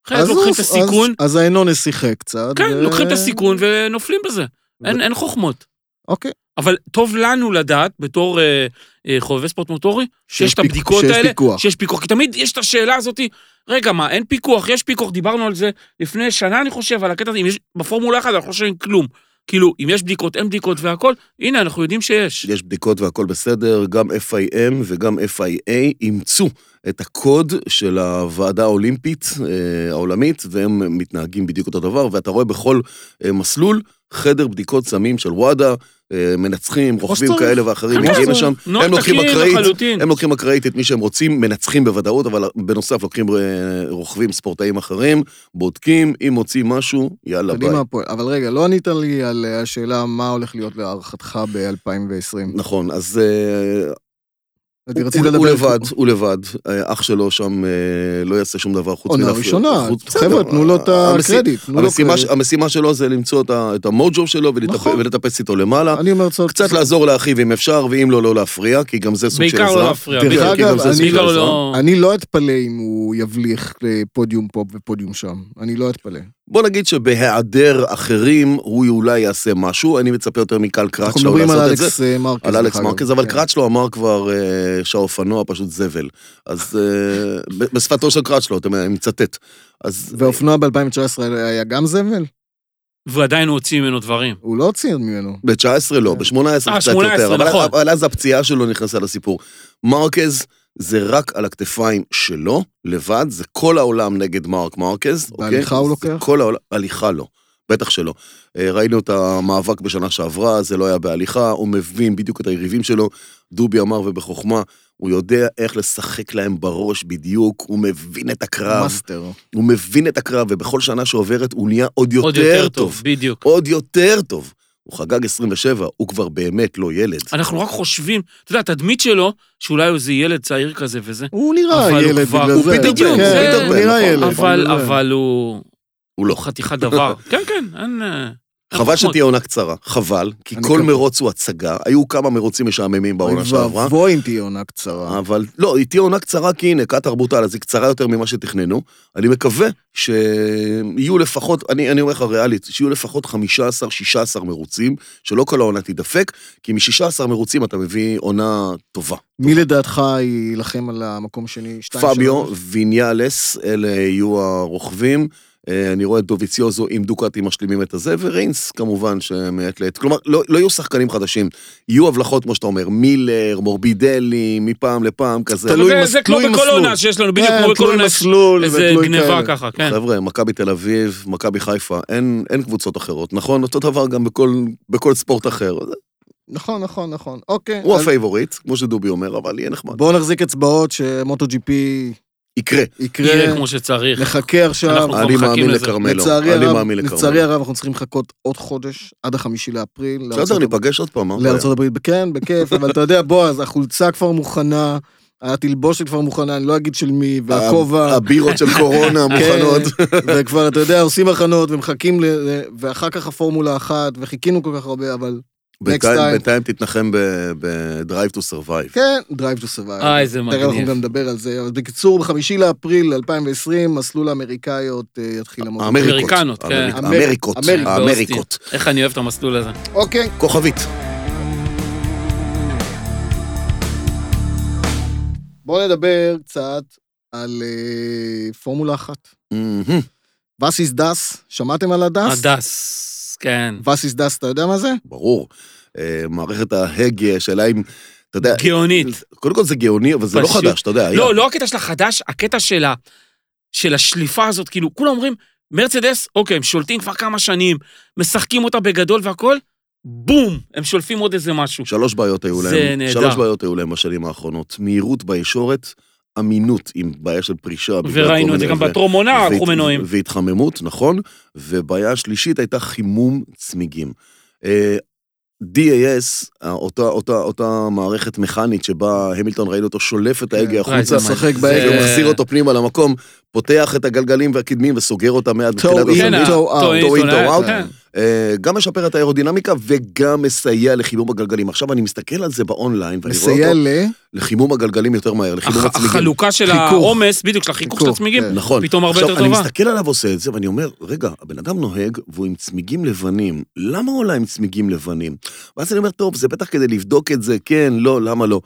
[SPEAKER 2] אחרת
[SPEAKER 1] אז
[SPEAKER 2] לוקחים את
[SPEAKER 1] הוא-
[SPEAKER 2] הסיכון,
[SPEAKER 1] אז- אז האנונה שיחק קצת.
[SPEAKER 2] כן,
[SPEAKER 1] ו-
[SPEAKER 2] לוקחים את הסיכון ונופלים בזה.
[SPEAKER 1] ו-
[SPEAKER 2] אין אין חוכמות.
[SPEAKER 1] אוקיי.
[SPEAKER 2] אבל טוב לנו לדעת, בתור אה, אה, חובבי ספורט מוטורי, שיש את
[SPEAKER 1] פיק-
[SPEAKER 2] הבדיקות
[SPEAKER 1] שיש
[SPEAKER 2] האלה,
[SPEAKER 1] פיקוח.
[SPEAKER 2] שיש פיקוח. כי תמיד יש את השאלה הזאת, רגע, מה, אין פיקוח, יש פיקוח, דיברנו על זה לפני שנה, אני חושב, על הקטע הזה, אם יש, בפורמולה אחת אנחנו לא שומעים כלום. כאילו, אם יש בדיקות, אין בדיקות והכל, הנה, אנחנו יודעים שיש.
[SPEAKER 3] יש בדיקות והכל בסדר, גם FIM וגם FIA אימצו את הקוד של הוועדה האולימפית אה, העולמית, והם מתנהגים בדיוק אותו דבר, ואתה רואה בכל אה, מסלול חדר בדיקות סמים של וואדה, אה, מנצחים, רוכבים
[SPEAKER 1] שצריך.
[SPEAKER 3] כאלה ואחרים,
[SPEAKER 2] כן,
[SPEAKER 3] מגיעים
[SPEAKER 2] כן.
[SPEAKER 3] לשם,
[SPEAKER 2] נוהל
[SPEAKER 3] הם לוקחים
[SPEAKER 2] תקין
[SPEAKER 3] אקראית,
[SPEAKER 2] לחלוטין.
[SPEAKER 3] הם לוקחים אקראית את מי שהם רוצים, מנצחים בוודאות, אבל בנוסף לוקחים אה, רוכבים ספורטאים אחרים, בודקים, אם מוצאים משהו, יאללה
[SPEAKER 1] יודעים
[SPEAKER 3] ביי.
[SPEAKER 1] מה הפועל. אבל רגע, לא ענית לי על אה, השאלה מה הולך להיות להערכתך ב-2020.
[SPEAKER 3] נכון, אז אה,
[SPEAKER 1] הוא
[SPEAKER 3] הוא- הוא לבד, הוא לבד, אה, אח שלו שם אה, לא יעשה שום דבר חוץ
[SPEAKER 1] עונה
[SPEAKER 3] מלהפ-
[SPEAKER 1] ראשונה,
[SPEAKER 3] חוץ-
[SPEAKER 1] חבר'ה,
[SPEAKER 3] בסדר,
[SPEAKER 1] תנו לו את
[SPEAKER 3] המסי-
[SPEAKER 1] הקרדיט. תנו לו
[SPEAKER 3] המשימה, ש-
[SPEAKER 1] קרדיט.
[SPEAKER 3] המשימה שלו זה למצוא את, ה- את המוג'ו שלו ולטפס,
[SPEAKER 1] נכון.
[SPEAKER 3] ולטפס איתו למעלה.
[SPEAKER 1] אני אומר צודק.
[SPEAKER 3] קצת לעזור לאחיו אם אפשר, ואם לא, לא להפריע, כי גם זה סוג של
[SPEAKER 2] בעיקר
[SPEAKER 3] עזרה.
[SPEAKER 2] לא להפריע.
[SPEAKER 1] דרך
[SPEAKER 2] בעיקר-
[SPEAKER 3] כי
[SPEAKER 1] אגב,
[SPEAKER 3] גם זה
[SPEAKER 1] אני-
[SPEAKER 3] סוג של
[SPEAKER 2] בעיקר
[SPEAKER 3] עזרה.
[SPEAKER 2] לא...
[SPEAKER 1] אני לא אתפלא אם הוא יבליך לפודיום פה ופודיום שם. אני לא אתפלא.
[SPEAKER 3] בוא נגיד שבהיעדר אחרים, הוא אולי יעשה משהו, אני מצפה יותר מקל
[SPEAKER 1] אנחנו
[SPEAKER 3] קראצ'לו
[SPEAKER 1] מדברים על
[SPEAKER 3] לעשות את זה.
[SPEAKER 1] אלכס אה, מרקז.
[SPEAKER 3] על אלכס
[SPEAKER 1] דרך אגב.
[SPEAKER 3] מרקז, אבל
[SPEAKER 1] כן.
[SPEAKER 3] קראצ'לו אמר כבר אה, שהאופנוע פשוט זבל. אז אה, ב- בשפתו של קראצ'לו, אתה יודע, אני מצטט. אז
[SPEAKER 1] והאופנוע ב-2019 היה גם זבל?
[SPEAKER 2] ועדיין הוא הוציא ממנו דברים.
[SPEAKER 1] הוא לא הוציא ממנו.
[SPEAKER 3] ב-19 לא, ב-18
[SPEAKER 2] אה,
[SPEAKER 3] קצת
[SPEAKER 2] 18,
[SPEAKER 3] יותר. אבל-
[SPEAKER 2] נכון.
[SPEAKER 3] אבל אז הפציעה שלו נכנסה לסיפור. מרקז זה רק על הכתפיים שלו, לבד, זה כל העולם נגד מרק מרקז. אוקיי?
[SPEAKER 1] בהליכה הוא
[SPEAKER 3] זה
[SPEAKER 1] לוקח?
[SPEAKER 3] כל העולם, הליכה לא. בטח שלא. אה, ראינו את המאבק בשנה שעברה, זה לא היה בהליכה, הוא מבין בדיוק את היריבים שלו. דובי אמר ובחוכמה, הוא יודע איך לשחק להם בראש בדיוק, הוא מבין את הקרב,
[SPEAKER 1] מאסטר.
[SPEAKER 3] הוא מבין את הקרב, ובכל שנה שעוברת הוא נהיה עוד
[SPEAKER 2] עוד
[SPEAKER 3] יותר טוב.
[SPEAKER 2] בדיוק.
[SPEAKER 3] עוד יותר טוב. הוא חגג 27, הוא כבר באמת לא ילד.
[SPEAKER 2] אנחנו רק חושבים, אתה יודע, התדמית שלו, שאולי הוא איזה ילד צעיר כזה וזה,
[SPEAKER 1] הוא נראה
[SPEAKER 2] אבל הוא
[SPEAKER 1] ילד
[SPEAKER 2] כבר-
[SPEAKER 1] בגלל זה.
[SPEAKER 2] הוא
[SPEAKER 3] פיטר
[SPEAKER 2] בדיוק,
[SPEAKER 1] כן,
[SPEAKER 2] זה-
[SPEAKER 1] הוא נראה
[SPEAKER 3] פיטר פן,
[SPEAKER 1] ילד.
[SPEAKER 3] נכון.
[SPEAKER 2] אבל,
[SPEAKER 1] בגלל זה.
[SPEAKER 2] אבל הוא...
[SPEAKER 3] הוא לא.
[SPEAKER 2] הוא חתיכת דבר. כן, כן, אין... אה,
[SPEAKER 3] חבל
[SPEAKER 2] אין חוכמות.
[SPEAKER 3] שתהיה עונה קצרה, חבל, כי
[SPEAKER 1] אני
[SPEAKER 3] כל
[SPEAKER 1] גם-
[SPEAKER 3] מרוץ הוא הצגה, היו כמה מרוצים משעממים בעונה
[SPEAKER 1] אוי
[SPEAKER 3] שעברה,
[SPEAKER 1] ואבוי אם תהיה עונה קצרה.
[SPEAKER 3] אבל לא, היא תהיה עונה קצרה כי הנה, קטר בוטל, אז היא קצרה יותר ממה שתכננו. אני מקווה שיהיו לפחות, אני, אני אומר לך ריאלית, שיהיו לפחות 15-16 מרוצים, שלא כל העונה תידפק, כי מ-16 מרוצים אתה מביא עונה טובה.
[SPEAKER 1] מי לדעתך יילחם על המקום השני? שתיים,
[SPEAKER 3] פביו
[SPEAKER 1] שלוש?
[SPEAKER 3] ויניאלס, אלה יהיו הרוכבים. אה, אני רואה את דוביציוזו עם דוקטי משלימים את הזה, וריינס כמובן שמעת לעת. כלומר, לא, לא יהיו שחקנים חדשים, יהיו הבלחות, כמו שאתה אומר, מילר, מורבידלי, מפעם לפעם כזה.
[SPEAKER 1] תלוי
[SPEAKER 2] זה-
[SPEAKER 1] מס-
[SPEAKER 2] זה כמו
[SPEAKER 1] תלוי
[SPEAKER 2] בכל
[SPEAKER 1] מסלול.
[SPEAKER 2] עונה שיש לנו, בדיוק
[SPEAKER 1] כן,
[SPEAKER 2] כמו בכל
[SPEAKER 1] תלוי
[SPEAKER 2] עונה יש
[SPEAKER 1] מסלול
[SPEAKER 2] איזה
[SPEAKER 1] ותלוי
[SPEAKER 2] גניבה
[SPEAKER 1] כאלה.
[SPEAKER 2] ככה, כן.
[SPEAKER 3] חבר'ה, מכבי תל אביב, מכבי חיפה, אין, אין קבוצות אחרות, נכון? אותו דבר גם בכל, בכל ספורט אחר.
[SPEAKER 1] נכון, נכון, נכון. אוקיי.
[SPEAKER 3] הוא
[SPEAKER 1] אז
[SPEAKER 3] הפייבוריט, כמו שדובי אומר, אבל יהיה נחמד.
[SPEAKER 1] בואו נחזיק אצבעות שמוטו ג'י פי
[SPEAKER 3] יקרה.
[SPEAKER 1] יקרה.
[SPEAKER 2] יהיה כמו שצריך.
[SPEAKER 1] נחכה עכשיו.
[SPEAKER 2] אנחנו כבר
[SPEAKER 3] אני
[SPEAKER 2] מחכים
[SPEAKER 3] מאמין
[SPEAKER 2] לזה.
[SPEAKER 3] לכרמלו,
[SPEAKER 1] לצערי
[SPEAKER 3] אני
[SPEAKER 1] הרב,
[SPEAKER 3] מאמין
[SPEAKER 1] לצערי
[SPEAKER 3] לכרמלו.
[SPEAKER 1] הרב, אנחנו צריכים לחכות עוד חודש, עד החמישי לאפריל.
[SPEAKER 3] בסדר,
[SPEAKER 1] לארצות הברית.
[SPEAKER 3] ניפגש עוד פעם, אה? מה? הבעיה?
[SPEAKER 1] לארצות הברית, כן, בכיף, אבל אתה יודע, בועז, החולצה כבר מוכנה, התלבושת כבר מוכנה, אני לא אגיד של מי, והכובע,
[SPEAKER 3] הבירות של קורונה
[SPEAKER 1] כן,
[SPEAKER 3] מוכנות.
[SPEAKER 1] וכבר, אתה יודע, עושים הכנות ומחכים ל... ואחר כך הפורמולה אחת, וחיכינו כל כך הרבה, אבל
[SPEAKER 3] בינתיים,
[SPEAKER 1] time.
[SPEAKER 3] בינתיים תתנחם ב-Drive to Survive.
[SPEAKER 1] כן, Drive to Survive.
[SPEAKER 2] אה, איזה
[SPEAKER 1] תכף אנחנו
[SPEAKER 2] מגניב.
[SPEAKER 1] גם נדבר על זה, אבל בקיצור, בחמישי לאפריל 2020, מסלול האמריקאיות אה, יתחיל למות.
[SPEAKER 2] אמריקנות, כן.
[SPEAKER 3] אמריק-
[SPEAKER 1] אמר-
[SPEAKER 3] אמריקות.
[SPEAKER 1] אמריקות.
[SPEAKER 3] האמריקות.
[SPEAKER 2] איך אני אוהב את המסלול הזה.
[SPEAKER 1] אוקיי.
[SPEAKER 3] כוכבית.
[SPEAKER 1] בואו נדבר קצת על אה, פורמולה אחת.
[SPEAKER 3] מהמם.
[SPEAKER 1] וסיס דס, שמעתם על הדס?
[SPEAKER 2] הדס, כן.
[SPEAKER 1] וסיס דס, אתה יודע מה זה?
[SPEAKER 3] ברור. אה, מערכת ההגה, השאלה אם, אתה יודע,
[SPEAKER 2] גאונית.
[SPEAKER 3] קודם כל זה גאוני, אבל זה לא
[SPEAKER 2] פשוט-
[SPEAKER 3] חדש, אתה יודע. היה.
[SPEAKER 2] לא, לא הקטע של החדש, הקטע של, ה... של השליפה הזאת, כאילו, כולם אומרים, מרצדס, אוקיי, הם שולטים כבר כמה שנים, משחקים אותה בגדול והכול, בום, הם שולפים עוד איזה משהו.
[SPEAKER 3] שלוש בעיות היו
[SPEAKER 2] זה
[SPEAKER 3] להם.
[SPEAKER 2] נהדר.
[SPEAKER 3] שלוש בעיות היו להם בשנים האחרונות. מהירות בישורת, אמינות עם בעיה של פרישה. בגלל כל
[SPEAKER 2] וראינו את זה
[SPEAKER 3] מיני-
[SPEAKER 2] גם
[SPEAKER 3] ו-
[SPEAKER 2] בטרום עונה,
[SPEAKER 3] והת-
[SPEAKER 2] לקחו אה, מנועים.
[SPEAKER 3] והתחממות, נכון. ובעיה שלישית הייתה חימום צמיגים. אה, DAS, אה, אותה, אותה, אותה מערכת מכנית שבה המילטון ראינו אותו שולף את
[SPEAKER 2] וואי,
[SPEAKER 3] ההגה החוצה,
[SPEAKER 2] זה
[SPEAKER 1] משחק
[SPEAKER 2] מה-
[SPEAKER 1] בהגה,
[SPEAKER 2] אה, זה-
[SPEAKER 3] ומחזיר אותו פנימה למקום, פותח את הגלגלים והקדמים וסוגר אותם מיד
[SPEAKER 1] Toe
[SPEAKER 3] בתחילת
[SPEAKER 1] in,
[SPEAKER 2] כן,
[SPEAKER 3] הסנדוויץ'.
[SPEAKER 1] toe out,
[SPEAKER 2] ה-toe in,
[SPEAKER 3] toe in,
[SPEAKER 2] toe
[SPEAKER 3] toe
[SPEAKER 2] out,
[SPEAKER 3] out.
[SPEAKER 2] כן.
[SPEAKER 3] אה, גם משפר את האירודינמיקה וגם מסייע לחימום הגלגלים. עכשיו אני מסתכל על זה באונליין, ואני רואה
[SPEAKER 1] מסייע
[SPEAKER 3] אותו
[SPEAKER 1] ל...
[SPEAKER 3] לחימום הגלגלים יותר מהר, לחימום
[SPEAKER 2] הח-
[SPEAKER 3] הצמיגים.
[SPEAKER 2] החלוקה של
[SPEAKER 1] חיכוך.
[SPEAKER 2] העומס, בדיוק, של החיכוך של
[SPEAKER 1] חיכוך,
[SPEAKER 2] הצמיגים,
[SPEAKER 1] כן.
[SPEAKER 3] נכון.
[SPEAKER 2] פתאום הרבה
[SPEAKER 3] עכשיו,
[SPEAKER 2] יותר
[SPEAKER 3] אני
[SPEAKER 2] טובה.
[SPEAKER 3] מסתכל עליו עושה את זה, ואני אומר, רגע, הבן אדם נוהג והוא עם צמיגים לבנים, למה הוא עולה עם צמיגים לבנים? ואז אני אומר, טוב, זה בטח כדי לבדוק את זה, כן, לא, למה לא?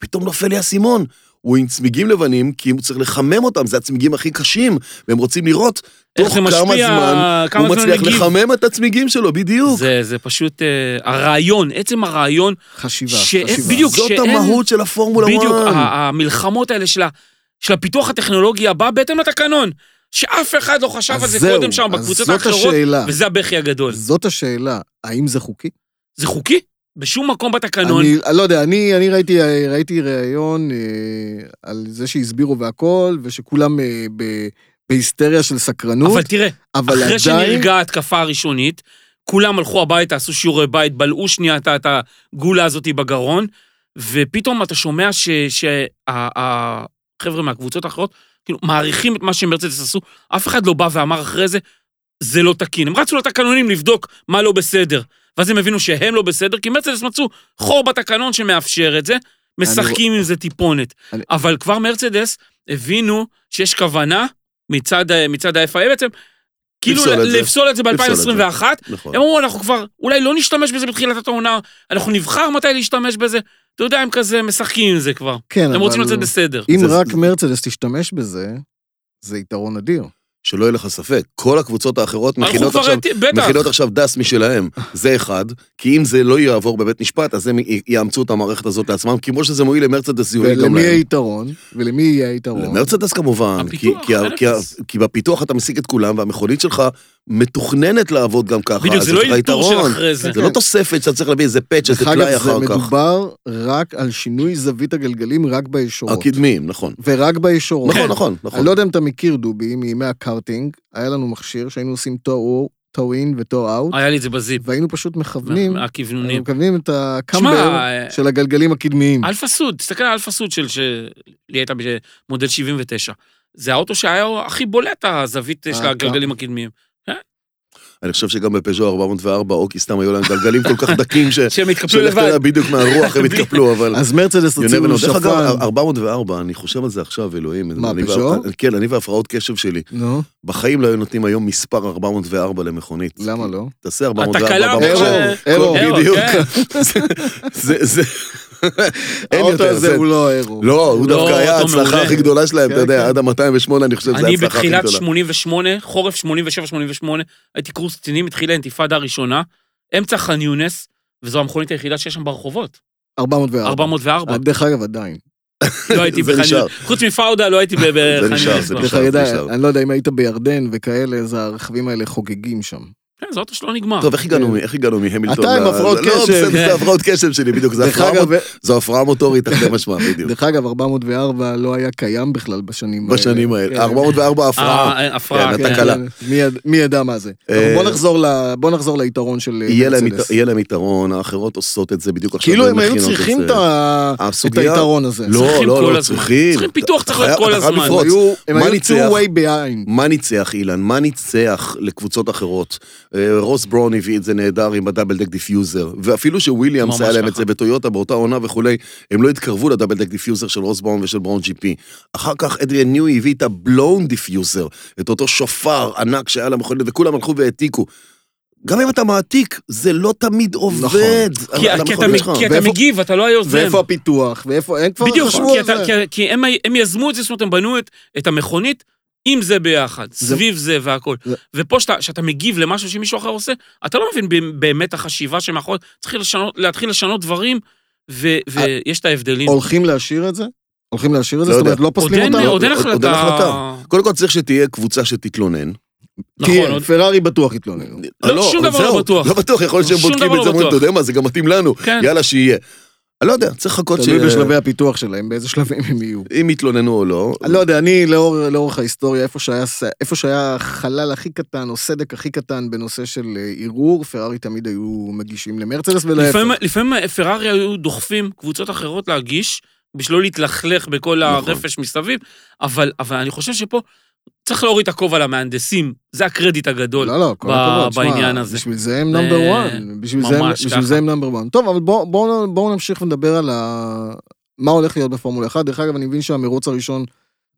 [SPEAKER 3] פתאום נופל לי האסימון. הוא עם צמיגים לבנים, כי הוא צריך לחמם אותם, זה הצמיגים הכי קשים, והם רוצים לראות
[SPEAKER 2] איך
[SPEAKER 3] תוך
[SPEAKER 2] זה
[SPEAKER 3] כמה
[SPEAKER 2] משפיע,
[SPEAKER 3] זמן
[SPEAKER 2] כמה
[SPEAKER 3] הוא
[SPEAKER 2] זמן
[SPEAKER 3] מצליח
[SPEAKER 2] מגיב.
[SPEAKER 3] לחמם את הצמיגים שלו, בדיוק.
[SPEAKER 2] זה- זה פשוט אה, הרעיון, עצם הרעיון
[SPEAKER 1] חשיבה,
[SPEAKER 2] שאין-
[SPEAKER 1] חשיבה.
[SPEAKER 2] בדיוק,
[SPEAKER 3] זאת
[SPEAKER 2] שאין- אה,
[SPEAKER 3] המהות של הפורמולה 1.
[SPEAKER 2] בדיוק, ה- המלחמות האלה של ה... של הפיתוח הטכנולוגי הבא בהתאם לתקנון, שאף אחד לא חשב על
[SPEAKER 3] אז
[SPEAKER 2] זה
[SPEAKER 3] זהו,
[SPEAKER 2] קודם שם
[SPEAKER 1] אז
[SPEAKER 2] בקבוצות
[SPEAKER 1] זאת
[SPEAKER 2] האחרות,
[SPEAKER 1] השאלה.
[SPEAKER 2] וזה הבכי הגדול.
[SPEAKER 1] זאת השאלה, האם זה חוקי?
[SPEAKER 2] זה חוקי? בשום מקום בתקנון.
[SPEAKER 1] אני לא יודע, אני, אני ראיתי, ראיתי ראיון אה, על זה שהסבירו והכל, ושכולם אה, ב, בהיסטריה של סקרנות,
[SPEAKER 2] אבל תראה,
[SPEAKER 1] אבל
[SPEAKER 2] אחרי
[SPEAKER 1] עדיין...
[SPEAKER 2] שנרגעה ההתקפה הראשונית, כולם הלכו הביתה, עשו שיעורי בית, בלעו שנייה את ה- את הגולה הזאת בגרון, ופתאום אתה שומע שהחבר'ה מהקבוצות האחרות, כאילו, מעריכים את מה שמרצדס עשו, אף אחד לא בא ואמר אחרי זה, זה לא תקין. הם רצו לתקנונים לבדוק מה לא בסדר, ואז הם הבינו שהם לא בסדר, כי מרצדס מצאו חור בתקנון שמאפשר את זה, משחקים עם זה טיפונת.
[SPEAKER 1] אני-
[SPEAKER 2] אבל כבר מרצדס הבינו שיש כוונה מצד, ה- מצד ה-FIA בעצם, כאילו
[SPEAKER 3] לפסול את זה.
[SPEAKER 2] לפסול את זה ב-2021,
[SPEAKER 3] נכון.
[SPEAKER 2] הם אמרו, אנחנו כבר, אולי לא נשתמש בזה בתחילת העונה, אנחנו נבחר מתי להשתמש בזה. אתה יודע, הם כזה משחקים עם זה כבר.
[SPEAKER 1] כן, אבל...
[SPEAKER 2] הם רוצים לצאת בסדר.
[SPEAKER 1] אם
[SPEAKER 3] זה-
[SPEAKER 1] רק
[SPEAKER 3] זה-
[SPEAKER 1] מרצדס תשתמש בזה, זה יתרון אדיר.
[SPEAKER 3] שלא יהיה לך ספק, כל הקבוצות האחרות
[SPEAKER 2] אנחנו
[SPEAKER 3] מכינות
[SPEAKER 2] כבר,
[SPEAKER 3] עכשיו...
[SPEAKER 2] בטח.
[SPEAKER 3] מכינות עכשיו דס משלהם, זה אחד, כי אם זה לא יעבור בבית משפט, אז הם י- יאמצו את המערכת הזאת לעצמם, כמו שזה מועיל למרצדס, זה יועיל גם
[SPEAKER 1] ולמי
[SPEAKER 3] להם.
[SPEAKER 1] היתרון? ולמי יהיה היתרון?
[SPEAKER 3] למרצדס כמובן, כי-
[SPEAKER 2] הפיתוח,
[SPEAKER 3] כי ה-
[SPEAKER 2] אין
[SPEAKER 3] כי ה-
[SPEAKER 2] אפס.
[SPEAKER 3] כי בפיתוח אתה משיג את כולם, והמכונית שלך מתוכננת לעבוד גם ככה,
[SPEAKER 2] בדיוק,
[SPEAKER 3] אז
[SPEAKER 2] זה
[SPEAKER 3] יש
[SPEAKER 2] לא
[SPEAKER 3] לך
[SPEAKER 2] אלתור
[SPEAKER 3] יתרון.
[SPEAKER 2] של אחרי זה.
[SPEAKER 3] זה לא תוספת שאתה צריך להביא איזה פאץ', איזה
[SPEAKER 1] דרך אגב,
[SPEAKER 3] טלאי
[SPEAKER 1] זה
[SPEAKER 3] אחר כך.
[SPEAKER 1] מדובר רק על שינוי זווית הגלגלים רק בישורות.
[SPEAKER 3] הקדמיים, נכון.
[SPEAKER 1] ורק בישורות.
[SPEAKER 3] נכון, נכון, נכון.
[SPEAKER 1] אני לא יודע אם אתה מכיר, דובי, מימי הקארטינג, היה לנו מכשיר שהיינו עושים טו אין וטו אאוט,
[SPEAKER 2] היה לי את זה בזיפ.
[SPEAKER 1] והיינו פשוט מכוונים, היינו
[SPEAKER 2] הכוונונים.
[SPEAKER 1] מכוונים את
[SPEAKER 2] שמע,
[SPEAKER 1] הקמבר
[SPEAKER 2] אה,
[SPEAKER 1] של הגלגלים הקדמיים.
[SPEAKER 2] אלפה סוד, תסתכל על אלפה סוד של... שלי הייתה במודל 79. זה האוטו שהיה הכי בולט, הזווית
[SPEAKER 3] כן.
[SPEAKER 2] של
[SPEAKER 1] אה,
[SPEAKER 2] הגלגלים הקדמיים.
[SPEAKER 3] אני חושב שגם בפז'ו 404, אוקי סתם היו להם גלגלים כל כך דקים, ש-
[SPEAKER 2] שהם התקפלו
[SPEAKER 3] שלך
[SPEAKER 2] לבד.
[SPEAKER 3] תדע בדיוק מהרוח הם התקפלו, אבל...
[SPEAKER 1] אז מרצדס
[SPEAKER 3] יונה
[SPEAKER 1] הוציאו
[SPEAKER 3] בנו, דרך אגב,
[SPEAKER 1] שפן.
[SPEAKER 3] 404, אני חושב על זה עכשיו, אלוהים.
[SPEAKER 1] מה,
[SPEAKER 3] אני
[SPEAKER 1] פז'ו?
[SPEAKER 3] וה- כן, אני והפרעות קשב שלי.
[SPEAKER 1] נו,
[SPEAKER 3] בחיים לא היו נותנים היום מספר 404 למכונית.
[SPEAKER 1] למה לא?
[SPEAKER 3] תעשה 404
[SPEAKER 2] התקלה
[SPEAKER 3] במחשב.
[SPEAKER 1] אבל- אירו,
[SPEAKER 3] כל-
[SPEAKER 2] כן. אירו,
[SPEAKER 3] בדיוק.
[SPEAKER 2] כן.
[SPEAKER 3] זה- זה, זה... אין
[SPEAKER 1] האוטו
[SPEAKER 3] יותר,
[SPEAKER 1] הזה
[SPEAKER 3] אה, זה...
[SPEAKER 1] הוא לא אירו.
[SPEAKER 3] לא, הוא
[SPEAKER 2] לא,
[SPEAKER 3] דווקא היה
[SPEAKER 2] אוטו
[SPEAKER 3] ההצלחה
[SPEAKER 2] מעולה.
[SPEAKER 3] הכי גדולה שלהם, אתה
[SPEAKER 1] כן,
[SPEAKER 3] יודע,
[SPEAKER 1] כן.
[SPEAKER 3] עד ה-208, אני חושב שזה
[SPEAKER 2] אני
[SPEAKER 3] ההצלחה הכי גדולה.
[SPEAKER 2] בתחילת 88, חורף 87-88, הייתי קורס קצינים, התחילה האינתיפאדה הראשונה, אמצע חאן יונס, וזו המכונית היחידה שיש שם ברחובות.
[SPEAKER 1] 404.
[SPEAKER 2] 404.
[SPEAKER 1] אה, דרך אגב, עדיין.
[SPEAKER 2] לא הייתי
[SPEAKER 3] אה, זה
[SPEAKER 2] בחאן
[SPEAKER 3] נשאר.
[SPEAKER 2] יונס. חוץ מפאודה לא הייתי ב- בחאן
[SPEAKER 3] נשאר,
[SPEAKER 2] יונס.
[SPEAKER 3] זה
[SPEAKER 2] כבר.
[SPEAKER 1] דרך
[SPEAKER 3] נשאר,
[SPEAKER 1] אגב,
[SPEAKER 3] נשאר.
[SPEAKER 1] אני לא יודע אם היית בירדן וכאלה, אז הרכבים האלה חוגגים שם.
[SPEAKER 2] כן, זה אוטו שלא נגמר.
[SPEAKER 3] טוב, איך הגענו מ- איך הגענו מהמילטון?
[SPEAKER 1] כן. אתה עם
[SPEAKER 3] ל-
[SPEAKER 1] הפרעות
[SPEAKER 3] לא,
[SPEAKER 1] קשב.
[SPEAKER 3] בסדר,
[SPEAKER 2] כן.
[SPEAKER 3] זה הפרעות קשב שלי, בדיוק. זה
[SPEAKER 1] דרך
[SPEAKER 3] הפרעה
[SPEAKER 1] אגב,
[SPEAKER 3] זו הפרעה מוטורית, אחרי משמע, בדיוק.
[SPEAKER 1] דרך אגב, 404 לא היה קיים בכלל בשנים האלה.
[SPEAKER 3] בשנים האלה.
[SPEAKER 1] כן.
[SPEAKER 3] 404 הפרעה.
[SPEAKER 2] אה, אה, הפרעה.
[SPEAKER 3] כן,
[SPEAKER 2] כן.
[SPEAKER 3] התקלה.
[SPEAKER 1] מי יד- מי ידע מה זה.
[SPEAKER 3] אה,
[SPEAKER 1] אבל בוא נחזור ל- בוא נחזור ליתרון של אה,
[SPEAKER 3] יהיה להם
[SPEAKER 1] מרצדס.
[SPEAKER 3] ית- יהיה להם יתרון, האחרות עושות את זה בדיוק עכשיו.
[SPEAKER 1] כאילו
[SPEAKER 3] והן
[SPEAKER 1] הם היו
[SPEAKER 3] מכינות את
[SPEAKER 1] צריכים
[SPEAKER 3] זה.
[SPEAKER 1] את ה- את
[SPEAKER 3] הסוגיה-
[SPEAKER 1] היתרון הזה.
[SPEAKER 3] לא,
[SPEAKER 2] צריכים
[SPEAKER 3] לא,
[SPEAKER 2] כל
[SPEAKER 3] לא,
[SPEAKER 2] הזמן.
[SPEAKER 3] צריכים.
[SPEAKER 2] צריכים פיתוח, צריך
[SPEAKER 3] אתה
[SPEAKER 2] להיות
[SPEAKER 3] חייב-
[SPEAKER 2] כל
[SPEAKER 3] אתה חייב
[SPEAKER 2] הזמן.
[SPEAKER 3] לפרוץ.
[SPEAKER 1] הם היו- הם
[SPEAKER 3] מה
[SPEAKER 1] היו
[SPEAKER 3] ניצח?
[SPEAKER 1] two way behind.
[SPEAKER 3] מה ניצח, אילן? מה ניצח לקבוצות אחרות? אה, רוס ברון הביא את זה נהדר עם הדאבל דק דיפיוזר, ואפילו שוויליאמס
[SPEAKER 2] ממש
[SPEAKER 3] היה להם
[SPEAKER 2] ככה.
[SPEAKER 3] את זה בטויוטה באותה עונה וכולי, הם לא התקרבו לדאבל דק דיפיוזר של רוס ברון ושל ברון ג'י פי. אחר כך אדריאן ניוי הביא את הבלון דיפיוזר, את אותו שופר ענק שהיה למכונית, וכולם הלכו והעתיקו. גם אם אתה מעתיק, זה לא תמיד עובד. על-
[SPEAKER 2] נכון. כי
[SPEAKER 3] על
[SPEAKER 2] כי אתה
[SPEAKER 3] המכונית
[SPEAKER 2] מ-
[SPEAKER 3] שלך.
[SPEAKER 2] כי אתה
[SPEAKER 1] ואיפה-
[SPEAKER 2] מגיב, אתה לא היה יוזם.
[SPEAKER 1] ואיפה הפיתוח? ואיפה... הם כבר
[SPEAKER 2] בדיוק,
[SPEAKER 1] חשבו
[SPEAKER 2] כי
[SPEAKER 1] על
[SPEAKER 2] אתה-
[SPEAKER 1] זה.
[SPEAKER 2] כי- כי הם- הם יזמו את זה, זאת אומרת, הם בנו את- את המכונית עם זה ביחד,
[SPEAKER 1] זה-
[SPEAKER 2] סביב זה והכול.
[SPEAKER 1] זה-
[SPEAKER 2] ופה שאתה- שאתה מגיב למשהו שמישהו אחר עושה, אתה לא מבין ב- באמת החשיבה שמאחורי, צריך לשנות- להתחיל לשנות דברים, ו- ויש את ההבדלים.
[SPEAKER 1] אה, הולכים להשאיר את זה? הולכים להשאיר את זה?
[SPEAKER 3] לא
[SPEAKER 1] זאת אומרת,
[SPEAKER 3] יודע.
[SPEAKER 1] לא
[SPEAKER 2] עוד
[SPEAKER 1] פוסלים
[SPEAKER 2] אין-
[SPEAKER 1] אותם?
[SPEAKER 2] עוד אין
[SPEAKER 3] עוד- עוד אין החלטה.
[SPEAKER 2] החלטה.
[SPEAKER 3] קודם כל צריך שתהיה קבוצה שתתלונן.
[SPEAKER 2] נכון, עוד-
[SPEAKER 1] כי פרארי בטוח יתלוננו.
[SPEAKER 2] לא, שום דבר לא
[SPEAKER 3] זהו,
[SPEAKER 2] בטוח.
[SPEAKER 3] לא בטוח, יכול להיות שהם
[SPEAKER 2] שום
[SPEAKER 3] בודקים
[SPEAKER 2] דבר
[SPEAKER 3] את זה,
[SPEAKER 2] לא
[SPEAKER 3] אומרים, אתה
[SPEAKER 2] בטוח.
[SPEAKER 3] יודע מה, זה גם מתאים לנו,
[SPEAKER 2] כן.
[SPEAKER 3] יאללה, שיהיה. אני לא יודע, צריך לחכות
[SPEAKER 1] תלוי בשלבי הפיתוח שלהם, באיזה שלבים הם יהיו.
[SPEAKER 3] אם יתלוננו או לא.
[SPEAKER 1] אני לא יודע, אני לאור, לאורך ההיסטוריה, איפה שהיה, ס- איפה שהיה חלל הכי קטן או סדק הכי קטן בנושא של אה, ערעור, פרארי תמיד היו מגישים למרצדס ולהפך.
[SPEAKER 2] לפעמים- לפעמים פרארי היו דוחפים קבוצות אחרות להגיש, בשביל לא להתלכלך בכל
[SPEAKER 3] נכון.
[SPEAKER 2] הרפש מסביב, אבל אבל אני חושב שפה צריך להוריד את הכובע למהנדסים, זה הקרדיט הגדול.
[SPEAKER 1] לא, לא, כל
[SPEAKER 2] ב-
[SPEAKER 1] הכבוד, שמע,
[SPEAKER 2] בעניין הזה.
[SPEAKER 1] בשביל זה הם
[SPEAKER 2] זה
[SPEAKER 1] נאמבר וואן. בשביל זה הם-
[SPEAKER 2] ממש
[SPEAKER 1] בשביל
[SPEAKER 2] ככה.
[SPEAKER 1] זה הם נאמבר וואן. טוב, אבל בואו בוא, בוא נמשיך ונדבר על ה... מה הולך להיות בפורמולה 1. דרך אגב, אני מבין שהמרוץ הראשון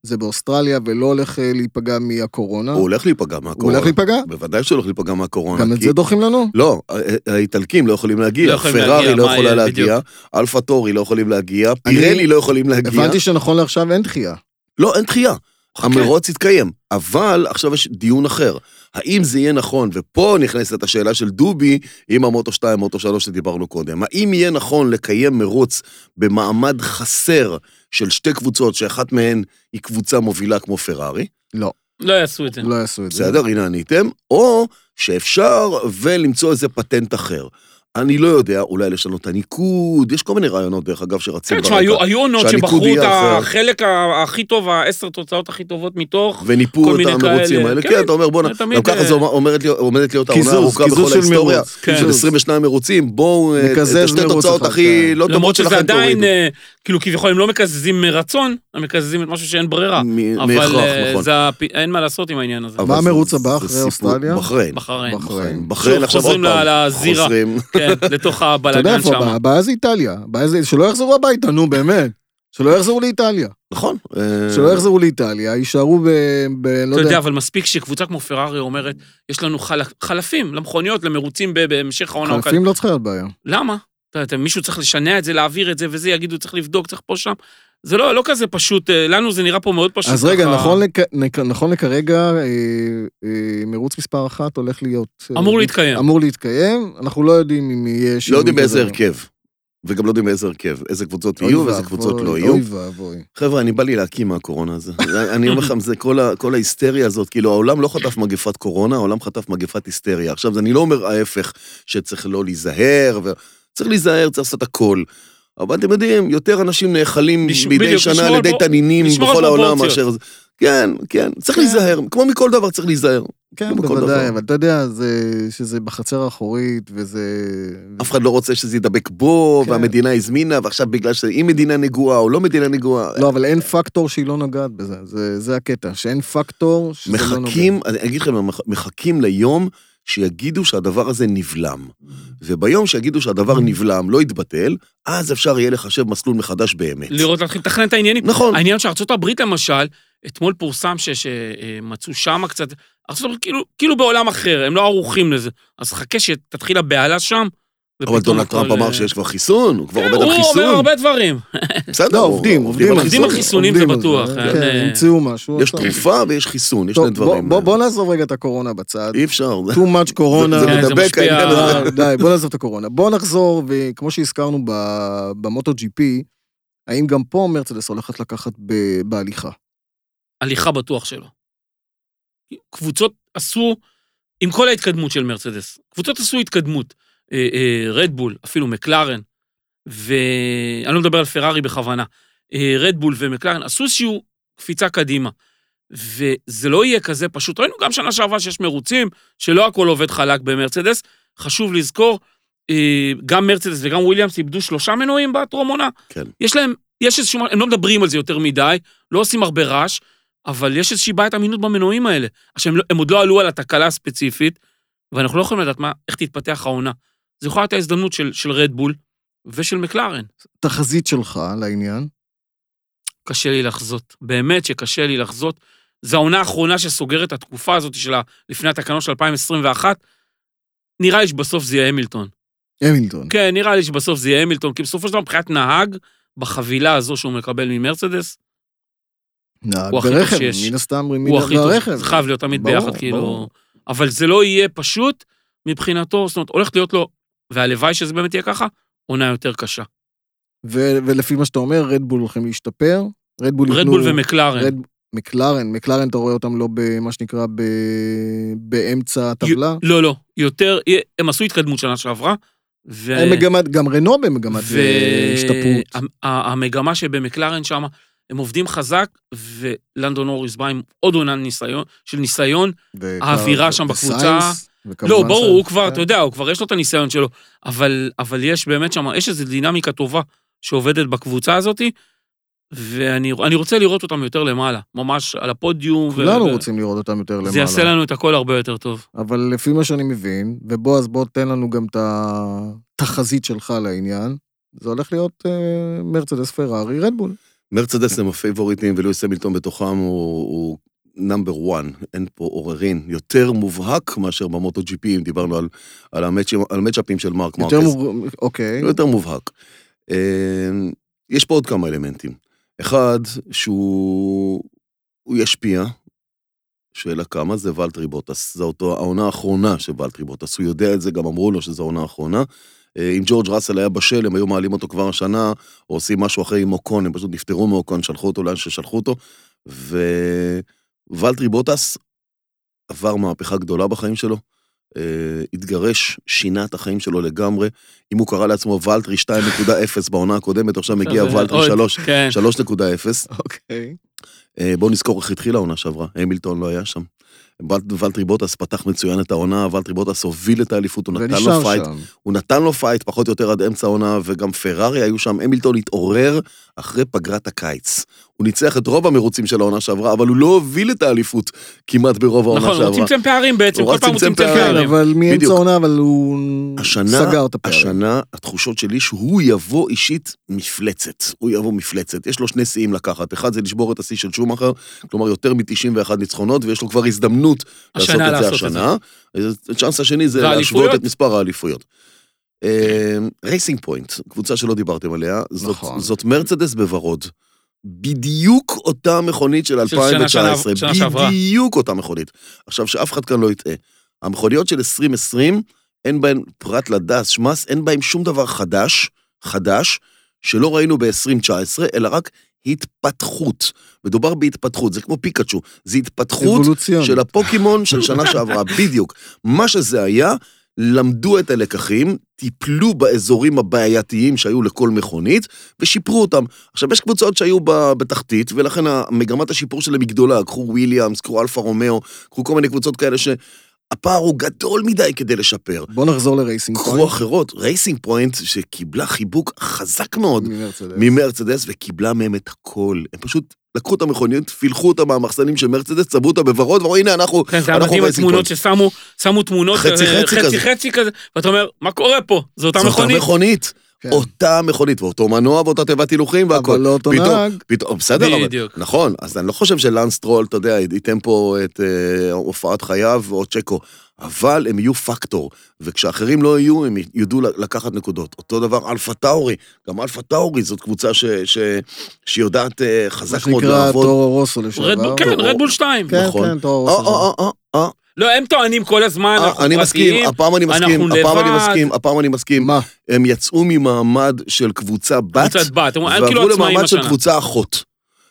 [SPEAKER 1] זה באוסטרליה, ולא הולך אה, להיפגע מהקורונה.
[SPEAKER 3] הוא הולך להיפגע
[SPEAKER 1] אה. הוא
[SPEAKER 3] מהקורונה.
[SPEAKER 1] הולך להיפגע?
[SPEAKER 3] בוודאי שהוא הולך להיפגע מהקורונה.
[SPEAKER 1] גם את
[SPEAKER 3] כי-
[SPEAKER 1] זה דוחים לנו?
[SPEAKER 3] לא, ה- ה- האיטלקים לא יכולים
[SPEAKER 2] לא
[SPEAKER 3] להגיע,
[SPEAKER 2] יכולים
[SPEAKER 3] פרארי
[SPEAKER 2] להגיע,
[SPEAKER 3] לא
[SPEAKER 2] מה
[SPEAKER 3] יכולה
[SPEAKER 2] יהיה,
[SPEAKER 3] להגיע, אלפה טורי לא יכולים להגיע, פירלי לא יכולים להגיע.
[SPEAKER 1] הבנתי שנכון לעכשיו אין דחייה.
[SPEAKER 3] לא, אין דחייה.
[SPEAKER 2] חכה.
[SPEAKER 3] המרוץ יתקיים, אבל עכשיו יש דיון אחר. האם זה יהיה נכון, ופה נכנסת השאלה של דובי עם המוטו 2, מוטו 3 שדיברנו קודם, האם יהיה נכון לקיים מרוץ במעמד חסר של שתי קבוצות, שאחת מהן היא קבוצה מובילה כמו פרארי,
[SPEAKER 1] לא,
[SPEAKER 2] לא יעשו את זה.
[SPEAKER 1] לא יעשו את זה.
[SPEAKER 3] בסדר, הנה עניתם, או שאפשר ולמצוא איזה פטנט אחר. אני לא יודע, אולי לשנות את הניקוד, יש כל מיני רעיונות, דרך אגב, שרצים
[SPEAKER 2] כן, תשמע, היו היו עונות
[SPEAKER 3] שהניקוד
[SPEAKER 2] שבחרו
[SPEAKER 3] יהיה
[SPEAKER 2] את
[SPEAKER 3] אחר.
[SPEAKER 2] החלק ה- הכי טוב, העשר תוצאות הכי טובות מתוך, כל
[SPEAKER 3] וניפו את
[SPEAKER 2] מיני
[SPEAKER 3] המרוצים
[SPEAKER 2] כאלה.
[SPEAKER 3] האלה.
[SPEAKER 2] כן,
[SPEAKER 3] כן, אתה אומר, בואנה,
[SPEAKER 2] זה תמיד,
[SPEAKER 3] גם ככה
[SPEAKER 2] אה,
[SPEAKER 3] זו עומדת להיות- עומדת להיות העונה
[SPEAKER 4] קיזוז,
[SPEAKER 3] הארוכה
[SPEAKER 4] קיזוז
[SPEAKER 3] בכל
[SPEAKER 4] של
[SPEAKER 3] ההיסטוריה.
[SPEAKER 4] מרוץ.
[SPEAKER 2] כן.
[SPEAKER 3] של 22 מרוצים, בואו, אה,
[SPEAKER 1] נקזז
[SPEAKER 3] את השתי
[SPEAKER 1] מרוץ
[SPEAKER 3] תוצאות
[SPEAKER 1] אחד,
[SPEAKER 3] הכי
[SPEAKER 1] כן.
[SPEAKER 3] לא טובות
[SPEAKER 2] למרות שזה
[SPEAKER 3] שלכם
[SPEAKER 2] עדיין,
[SPEAKER 3] תורידו.
[SPEAKER 2] אה, כאילו כביכול הם לא מקזזים מרצון, הם מקזזים את משהו שאין ברירה.
[SPEAKER 3] מ-
[SPEAKER 2] אבל
[SPEAKER 3] מהכרח,
[SPEAKER 2] אה,
[SPEAKER 3] נכון.
[SPEAKER 2] זה הפ- אין מה לעשות עם העניין הזה.
[SPEAKER 3] אבל
[SPEAKER 1] מה
[SPEAKER 3] זה-
[SPEAKER 1] המרוץ
[SPEAKER 3] זה
[SPEAKER 1] הבא אחרי
[SPEAKER 3] סיפור-
[SPEAKER 1] אוסטרליה?
[SPEAKER 3] בחריין.
[SPEAKER 2] בחריין.
[SPEAKER 1] בחריין.
[SPEAKER 3] בחריין
[SPEAKER 2] שוב,
[SPEAKER 3] עכשיו עוד
[SPEAKER 2] חוזרים
[SPEAKER 3] פעם.
[SPEAKER 2] ל- לזירה.
[SPEAKER 3] חוזרים.
[SPEAKER 2] כן, לתוך
[SPEAKER 1] אתה יודע
[SPEAKER 2] הבלאגן
[SPEAKER 1] איפה הבעיה?
[SPEAKER 3] לא
[SPEAKER 2] שם.
[SPEAKER 1] הבעיה זה איטליה. הבעיה זה שלא יחזרו הביתה, נו באמת. שלא יחזרו לאיטליה.
[SPEAKER 3] נכון. אה,
[SPEAKER 1] שלא יחזרו לאיטליה, יישארו ב... ב- לא
[SPEAKER 2] אתה יודע,
[SPEAKER 1] יודע.
[SPEAKER 2] אבל מספיק שקבוצה כמו פרארי אומרת, יש לנו חל- חלפים למכוניות, למרוצים ב- בהמשך העונה. או
[SPEAKER 1] חלפים לא צריכה להיות בעיה.
[SPEAKER 2] כאלה." למה? אתה יודע, מישהו צריך לשנע את זה, להעביר את זה וזה, יגידו, צריך לבדוק, צריך פה שם. זה לא לא כזה פשוט, אה, לנו זה נראה פה מאוד פשוט.
[SPEAKER 1] אז רגע,
[SPEAKER 2] ככה.
[SPEAKER 1] נכון לכ- נק- נכון לכרגע, אה, אה, מרוץ מספר אחת הולך להיות... אה,
[SPEAKER 2] אמור להתקיים.
[SPEAKER 1] אמור להתקיים, אנחנו לא יודעים אם יהיה
[SPEAKER 3] לא
[SPEAKER 1] שינוי
[SPEAKER 3] יודעים באיזה
[SPEAKER 1] כזה.
[SPEAKER 3] הרכב. וגם לא יודעים באיזה הרכב, איזה קבוצות
[SPEAKER 1] אוי
[SPEAKER 3] יהיו ואיזה
[SPEAKER 1] ואבוי,
[SPEAKER 3] קבוצות לא יהיו.
[SPEAKER 1] אוי ואבוי.
[SPEAKER 3] חבר'ה, אני בא לי להקים מהקורונה הזה. אני אומר לכם, זה כל, ה, כל ההיסטריה הזאת, כאילו, העולם לא חטף מגפת קורונה, העולם חטף מגפת היסטריה. עכשיו, אני לא אומר ההפך, שצריך לא להיזהר, ו... צריך להיזהר, צריך לעשות הכל. אבל אתם יודעים, יותר אנשים נאכלים
[SPEAKER 2] לש-
[SPEAKER 3] מדי
[SPEAKER 2] בדיוק,
[SPEAKER 3] שנה על
[SPEAKER 2] לשמור על
[SPEAKER 3] ידי
[SPEAKER 2] פרופ-
[SPEAKER 3] תנינים
[SPEAKER 2] לשמור על
[SPEAKER 3] בכל העולם
[SPEAKER 2] פרופורציות.
[SPEAKER 3] מאשר... זה. כן, כן, צריך
[SPEAKER 1] כן.
[SPEAKER 3] להיזהר, כמו מכל דבר צריך להיזהר.
[SPEAKER 1] כן,
[SPEAKER 3] כמו בכל דבר.
[SPEAKER 1] בוודאי, אבל אתה יודע זה- שזה בחצר האחורית, וזה...
[SPEAKER 3] אף אחד לא רוצה שזה ידבק בו,
[SPEAKER 1] כן.
[SPEAKER 3] והמדינה הזמינה, ועכשיו בגלל שהיא מדינה נגועה או לא מדינה נגועה,
[SPEAKER 1] לא, אבל אין פקטור שהיא לא נוגעת בזה, זה- זה הקטע, שאין פקטור שזה לא נוגע.
[SPEAKER 3] מחכים, אני אגיד לכם, מח- מחכים ליום שיגידו שהדבר הזה נבלם. וביום שיגידו
[SPEAKER 2] Mm-hmm.
[SPEAKER 3] שהדבר נבלם, לא יתבטל, אז אפשר יהיה לחשב מסלול מחדש באמת.
[SPEAKER 2] לראות, להתחיל לתכנן את העניינים.
[SPEAKER 3] נכון.
[SPEAKER 2] העניין שארצות הברית למשל, אתמול פורסם ש- שמצאו שם קצת, ארצות הברית כאילו, כאילו בעולם אחר, הם לא ערוכים לזה. אז חכה שתתחיל הבהלה שם.
[SPEAKER 3] אבל
[SPEAKER 2] ופתאום
[SPEAKER 3] דונלד
[SPEAKER 2] הכל,
[SPEAKER 3] טראמפ אמר
[SPEAKER 2] אה,
[SPEAKER 3] שיש כבר חיסון, הוא כבר
[SPEAKER 2] כן,
[SPEAKER 3] עובד על
[SPEAKER 2] הוא אומר
[SPEAKER 3] חיסון.
[SPEAKER 2] הרבה דברים.
[SPEAKER 3] בסדר,
[SPEAKER 1] לא,
[SPEAKER 3] הוא-
[SPEAKER 1] עובדים, עובדים
[SPEAKER 2] על חיסון. חיסונים זה
[SPEAKER 1] עובדים על
[SPEAKER 2] בטוח,
[SPEAKER 1] כן,
[SPEAKER 2] כן.
[SPEAKER 1] המציאו משהו.
[SPEAKER 3] יש
[SPEAKER 1] טוב.
[SPEAKER 3] תרופה ויש חיסון, יש
[SPEAKER 1] טוב,
[SPEAKER 3] שני דברים.
[SPEAKER 1] בוא- בוא- בוא נעזוב רגע את הקורונה בצד.
[SPEAKER 3] אי אפשר, זה-
[SPEAKER 1] too much קורונה.
[SPEAKER 3] זה
[SPEAKER 2] כן, אה. זה
[SPEAKER 3] מדבק
[SPEAKER 2] משפיע.
[SPEAKER 3] העניין הזה.
[SPEAKER 1] אה, די, בוא נעזוב את הקורונה. בוא נחזור, וכמו שהזכרנו ב- במוטו ג'י פי, האם גם פה מרצדס הולכת לקחת ב- בהליכה?
[SPEAKER 2] הליכה בטוח שלא. קבוצות עשו, עם כל ההתקדמות של מרצדס, קבוצות עשו התקדמות. אה, אה, רדבול, אפילו מקלרן, ואני לא מדבר על פרארי בכוונה. אה, רדבול ומקלרן עשו איזושהי קפיצה קדימה. וזה לא יהיה כזה פשוט. ראינו גם שנה שעברה שיש מרוצים, שלא הכל עובד חלק במרצדס. חשוב לזכור, אה, גם מרצדס וגם וויליאמס איבדו שלושה מנועים בטרום עונה.
[SPEAKER 3] כן.
[SPEAKER 2] יש להם, יש איזשהו, הם לא מדברים על זה יותר מדי, לא עושים הרבה רעש, אבל יש איזושהי בעיית אמינות במנועים האלה. עכשיו, הם, לא, הם עוד לא עלו על התקלה הספציפית, ואנחנו לא יכולים לדעת מה, איך תתפתח העונה. זו יכולה להיות ההזדמנות של, של רדבול ושל מקלרן.
[SPEAKER 1] תחזית שלך לעניין.
[SPEAKER 2] קשה לי לחזות, באמת שקשה לי לחזות. זו העונה האחרונה שסוגרת את התקופה הזאת של ה- לפני התקנות של 2021. נראה לי שבסוף זה יהיה המילטון.
[SPEAKER 1] המילטון.
[SPEAKER 2] כן, נראה לי שבסוף זה יהיה המילטון, כי בסופו של דבר מבחינת נהג, בחבילה הזו שהוא מקבל ממרצדס,
[SPEAKER 1] נהג
[SPEAKER 2] הוא הכי טוב
[SPEAKER 1] ברכב,
[SPEAKER 2] שיש.
[SPEAKER 1] מן הסתם מן
[SPEAKER 2] הוא הכי טוב,
[SPEAKER 1] הרכב.
[SPEAKER 2] זה חייב להיות תמיד
[SPEAKER 1] ברור,
[SPEAKER 2] ביחד, כאילו...
[SPEAKER 1] ברור.
[SPEAKER 2] אבל זה לא יהיה פשוט מבחינתו, זאת אומרת, הולכת להיות לו, והלוואי שזה באמת יהיה ככה, עונה יותר קשה.
[SPEAKER 1] ו- ולפי מה שאתה אומר, רדבול הולכים להשתפר. רדבול יתנו...
[SPEAKER 2] רדבול ומקלרן.
[SPEAKER 1] רד- מקלרן, מקלרן אתה רואה אותם לא במה שנקרא ב... באמצע הטבלה.
[SPEAKER 2] לא, לא, יותר, הם עשו התקדמות שנה שעברה, ו...
[SPEAKER 1] הם מגמת, גם רנו במגמת אה, השתפרות.
[SPEAKER 2] והמגמה שבמקלרן שם, הם עובדים חזק, ולנדון אוריס בא עם עוד עונה ניסיון, של ניסיון.
[SPEAKER 1] וכבר-
[SPEAKER 2] האווירה שם בקבוצה-
[SPEAKER 1] וסיינס, וכמובן
[SPEAKER 2] לא, ברור,
[SPEAKER 1] ש-
[SPEAKER 2] הוא כבר,
[SPEAKER 1] כן.
[SPEAKER 2] אתה יודע, הוא כבר יש לו את הניסיון שלו, אבל, אבל יש באמת שם, יש איזו דינמיקה טובה שעובדת בקבוצה הזאת, ואני אני רוצה לראות אותם יותר למעלה, ממש על הפודיום. ו-
[SPEAKER 1] אה, כולנו
[SPEAKER 2] ו-
[SPEAKER 1] רוצים לראות אותם יותר למעלה.
[SPEAKER 2] זה יעשה לנו את הכל הרבה יותר טוב.
[SPEAKER 1] אבל לפי מה שאני מבין, ובועז, בוא תן לנו גם את התחזית שלך לעניין, זה הולך להיות אה, מרצדס פרארי רדבול.
[SPEAKER 3] מרצדס הם הפייבוריטים, ולואיס המילטון בתוכם הוא, הוא נאמבר 1, אין פה עוררין. יותר מובהק מאשר במוטו GP, אם דיברנו על, על, המצ'ים, על המצ'אפים של מרק מרקס.
[SPEAKER 1] יותר מור... אוקיי.
[SPEAKER 3] יותר מובהק. אה, יש פה עוד כמה אלמנטים. אחד, שהוא הוא ישפיע, שאלה כמה זה ולטרי בוטס. זו אותו העונה האחרונה של ולטרי בוטס. הוא יודע את זה, גם אמרו לו שזו העונה האחרונה. אה, אם ג'ורג' ראסל היה בשל, הם היו מעלים אותו כבר השנה, או עושים משהו אחר עם אוקון, הם פשוט נפטרו מאוקון, שלחו אותו לאן ששלחו אותו. ווולטרי בוטס עבר מהפכה גדולה בחיים שלו. אה, התגרש, שינה את החיים שלו לגמרי. אם הוא קרא לעצמו ולטרי 2.0 בעונה הקודמת, עכשיו מגיע
[SPEAKER 2] עכשיו זה
[SPEAKER 3] ולטרי
[SPEAKER 2] עוד,
[SPEAKER 3] 3,
[SPEAKER 2] כן.
[SPEAKER 3] 3.0.
[SPEAKER 1] אוקיי.
[SPEAKER 3] אה, בואו נזכור איך התחילה העונה שעברה, המילטון לא היה שם. ול- ולטרי בוטס פתח מצוין את העונה, ולטרי בוטס הוביל את האליפות, הוא נתן לו
[SPEAKER 1] ונשאר
[SPEAKER 3] פייט,
[SPEAKER 1] שם.
[SPEAKER 3] הוא נתן לו פייט פחות או יותר עד אמצע העונה, וגם פרארי היו שם, המילטון התעורר אחרי פגרת הקיץ. הוא ניצח את רוב המרוצים של העונה שעברה, אבל הוא לא הוביל את האליפות כמעט ברוב העונה
[SPEAKER 2] נכון, הוא
[SPEAKER 3] שעברה.
[SPEAKER 2] צמצם פערים בעצם,
[SPEAKER 3] הוא
[SPEAKER 2] כל
[SPEAKER 3] רק
[SPEAKER 2] פעם הוא
[SPEAKER 3] צמצם
[SPEAKER 2] צמצם
[SPEAKER 3] פערים.
[SPEAKER 1] כן,
[SPEAKER 2] פערים.
[SPEAKER 1] אבל מאמצע
[SPEAKER 3] בדיוק.
[SPEAKER 1] העונה, אבל הוא
[SPEAKER 3] השנה-
[SPEAKER 1] סגר את הפערים.
[SPEAKER 3] השנה, התחושות שלי שהוא יבוא אישית מפלצת. הוא יבוא מפלצת. יש לו שני שיאים לקחת. אחד זה לשבור את השיא של שומאחר, כלומר יותר מ-91 ניצחונות, ויש לו כבר הזדמנות לעשות
[SPEAKER 2] השנה
[SPEAKER 3] את זה
[SPEAKER 2] לעשות את
[SPEAKER 3] השנה. הצ'אנס השני זה
[SPEAKER 2] והאליפויות.
[SPEAKER 3] להשוות את מספר האליפויות. אה, רייסינג פוינט, קבוצה שלא דיברתם עליה, זאת-
[SPEAKER 1] נכון.
[SPEAKER 3] זאת מרצדס בוורוד. בדיוק אותה מכונית של
[SPEAKER 2] של שנה- שנה-
[SPEAKER 3] 2019,
[SPEAKER 2] שנה שעברה.
[SPEAKER 3] בדיוק אותה מכונית. עכשיו, שאף אחד כאן לא יטעה. המכוניות של 2020, אין בהן, פרט לדס, שמס, אין בהן שום דבר חדש, חדש, שלא ראינו ב-2019, אלא רק התפתחות. מדובר בהתפתחות, זה כמו פיקאצ'ו, זה התפתחות
[SPEAKER 1] אבולוציון.
[SPEAKER 3] של הפוקימון של שנה שעברה, בדיוק. מה שזה היה, למדו את הלקחים, טיפלו באזורים הבעייתיים שהיו לכל מכונית, ושיפרו אותם. עכשיו, יש קבוצות שהיו ב- בתחתית, ולכן מגמת השיפור שלהם היא גדולה. קחו וויליאמס, קחו אלפה רומאו, קחו כל מיני קבוצות כאלה שהפער הוא גדול מדי כדי לשפר.
[SPEAKER 1] בוא נחזור לרייסינג
[SPEAKER 3] קחו אחרות, רייסינג פוינט, שקיבלה חיבוק חזק מאוד
[SPEAKER 1] ממרצדס.
[SPEAKER 3] ממרצדס וקיבלה מהם את הכל. הם פשוט לקחו את המכוניות, פילחו אותה מהמחסנים של מרצדס, צבעו אותה בוורוד, ואמרו, הנה, אנחנו...
[SPEAKER 2] כן, זה היה
[SPEAKER 3] אנחנו
[SPEAKER 2] מדהים
[SPEAKER 3] רייסינג
[SPEAKER 2] התמונות
[SPEAKER 3] פוינט."
[SPEAKER 2] ששמו, שמו תמונות,
[SPEAKER 3] חצי-
[SPEAKER 2] אה,
[SPEAKER 3] חצי
[SPEAKER 2] חצי
[SPEAKER 3] כזה.
[SPEAKER 2] חצי כזה, ואתה אומר, מה קורה פה? זו אותה
[SPEAKER 3] זו אותה
[SPEAKER 2] מכונית?
[SPEAKER 3] מכונית.
[SPEAKER 1] כן.
[SPEAKER 3] אותה מכונית, ואותו מנוע ואותה תיבת הילוכים והכל.
[SPEAKER 1] אבל לא אותו
[SPEAKER 3] פתאום-
[SPEAKER 1] נהג.
[SPEAKER 3] פתאום, בסדר, אבל...
[SPEAKER 2] בדיוק.
[SPEAKER 3] נכון, אז אני לא חושב שלנסטרול, אתה יודע, ייתן פה את אה, הופעת חייו או צ'קו, אבל הם יהיו פקטור, וכשאחרים לא יהיו, הם ידעו ל- לקחת נקודות. אותו דבר אלפה טאורי, גם אלפה טאורי זאת קבוצה ש, ש, שיודעת אה,
[SPEAKER 1] מה
[SPEAKER 3] חזק מאוד
[SPEAKER 1] שנקרא
[SPEAKER 3] לעבוד.
[SPEAKER 1] טורו רוסו לשעבר.
[SPEAKER 2] רדבול- כן,
[SPEAKER 3] טוב,
[SPEAKER 2] רדבול 2.
[SPEAKER 1] כן,
[SPEAKER 3] נכון.
[SPEAKER 1] כן, טורו
[SPEAKER 3] אה,
[SPEAKER 1] רוסו.
[SPEAKER 3] אה, אה, אה,
[SPEAKER 2] לא, הם טוענים כל הזמן,
[SPEAKER 3] אה,
[SPEAKER 2] אנחנו
[SPEAKER 3] אני מסכים,
[SPEAKER 2] פרטיים.
[SPEAKER 3] הפעם אני מסכים,
[SPEAKER 2] אנחנו
[SPEAKER 3] הפעם אני
[SPEAKER 2] לבד.
[SPEAKER 3] מסכים, הפעם אני מסכים.
[SPEAKER 1] מה?
[SPEAKER 3] הם יצאו ממעמד של קבוצה בת,
[SPEAKER 2] קבוצת בת, הם אומרים, "אה,
[SPEAKER 3] ועברו
[SPEAKER 2] כאילו עצמאים
[SPEAKER 3] למעמד של
[SPEAKER 2] השנה.
[SPEAKER 3] קבוצה אחות.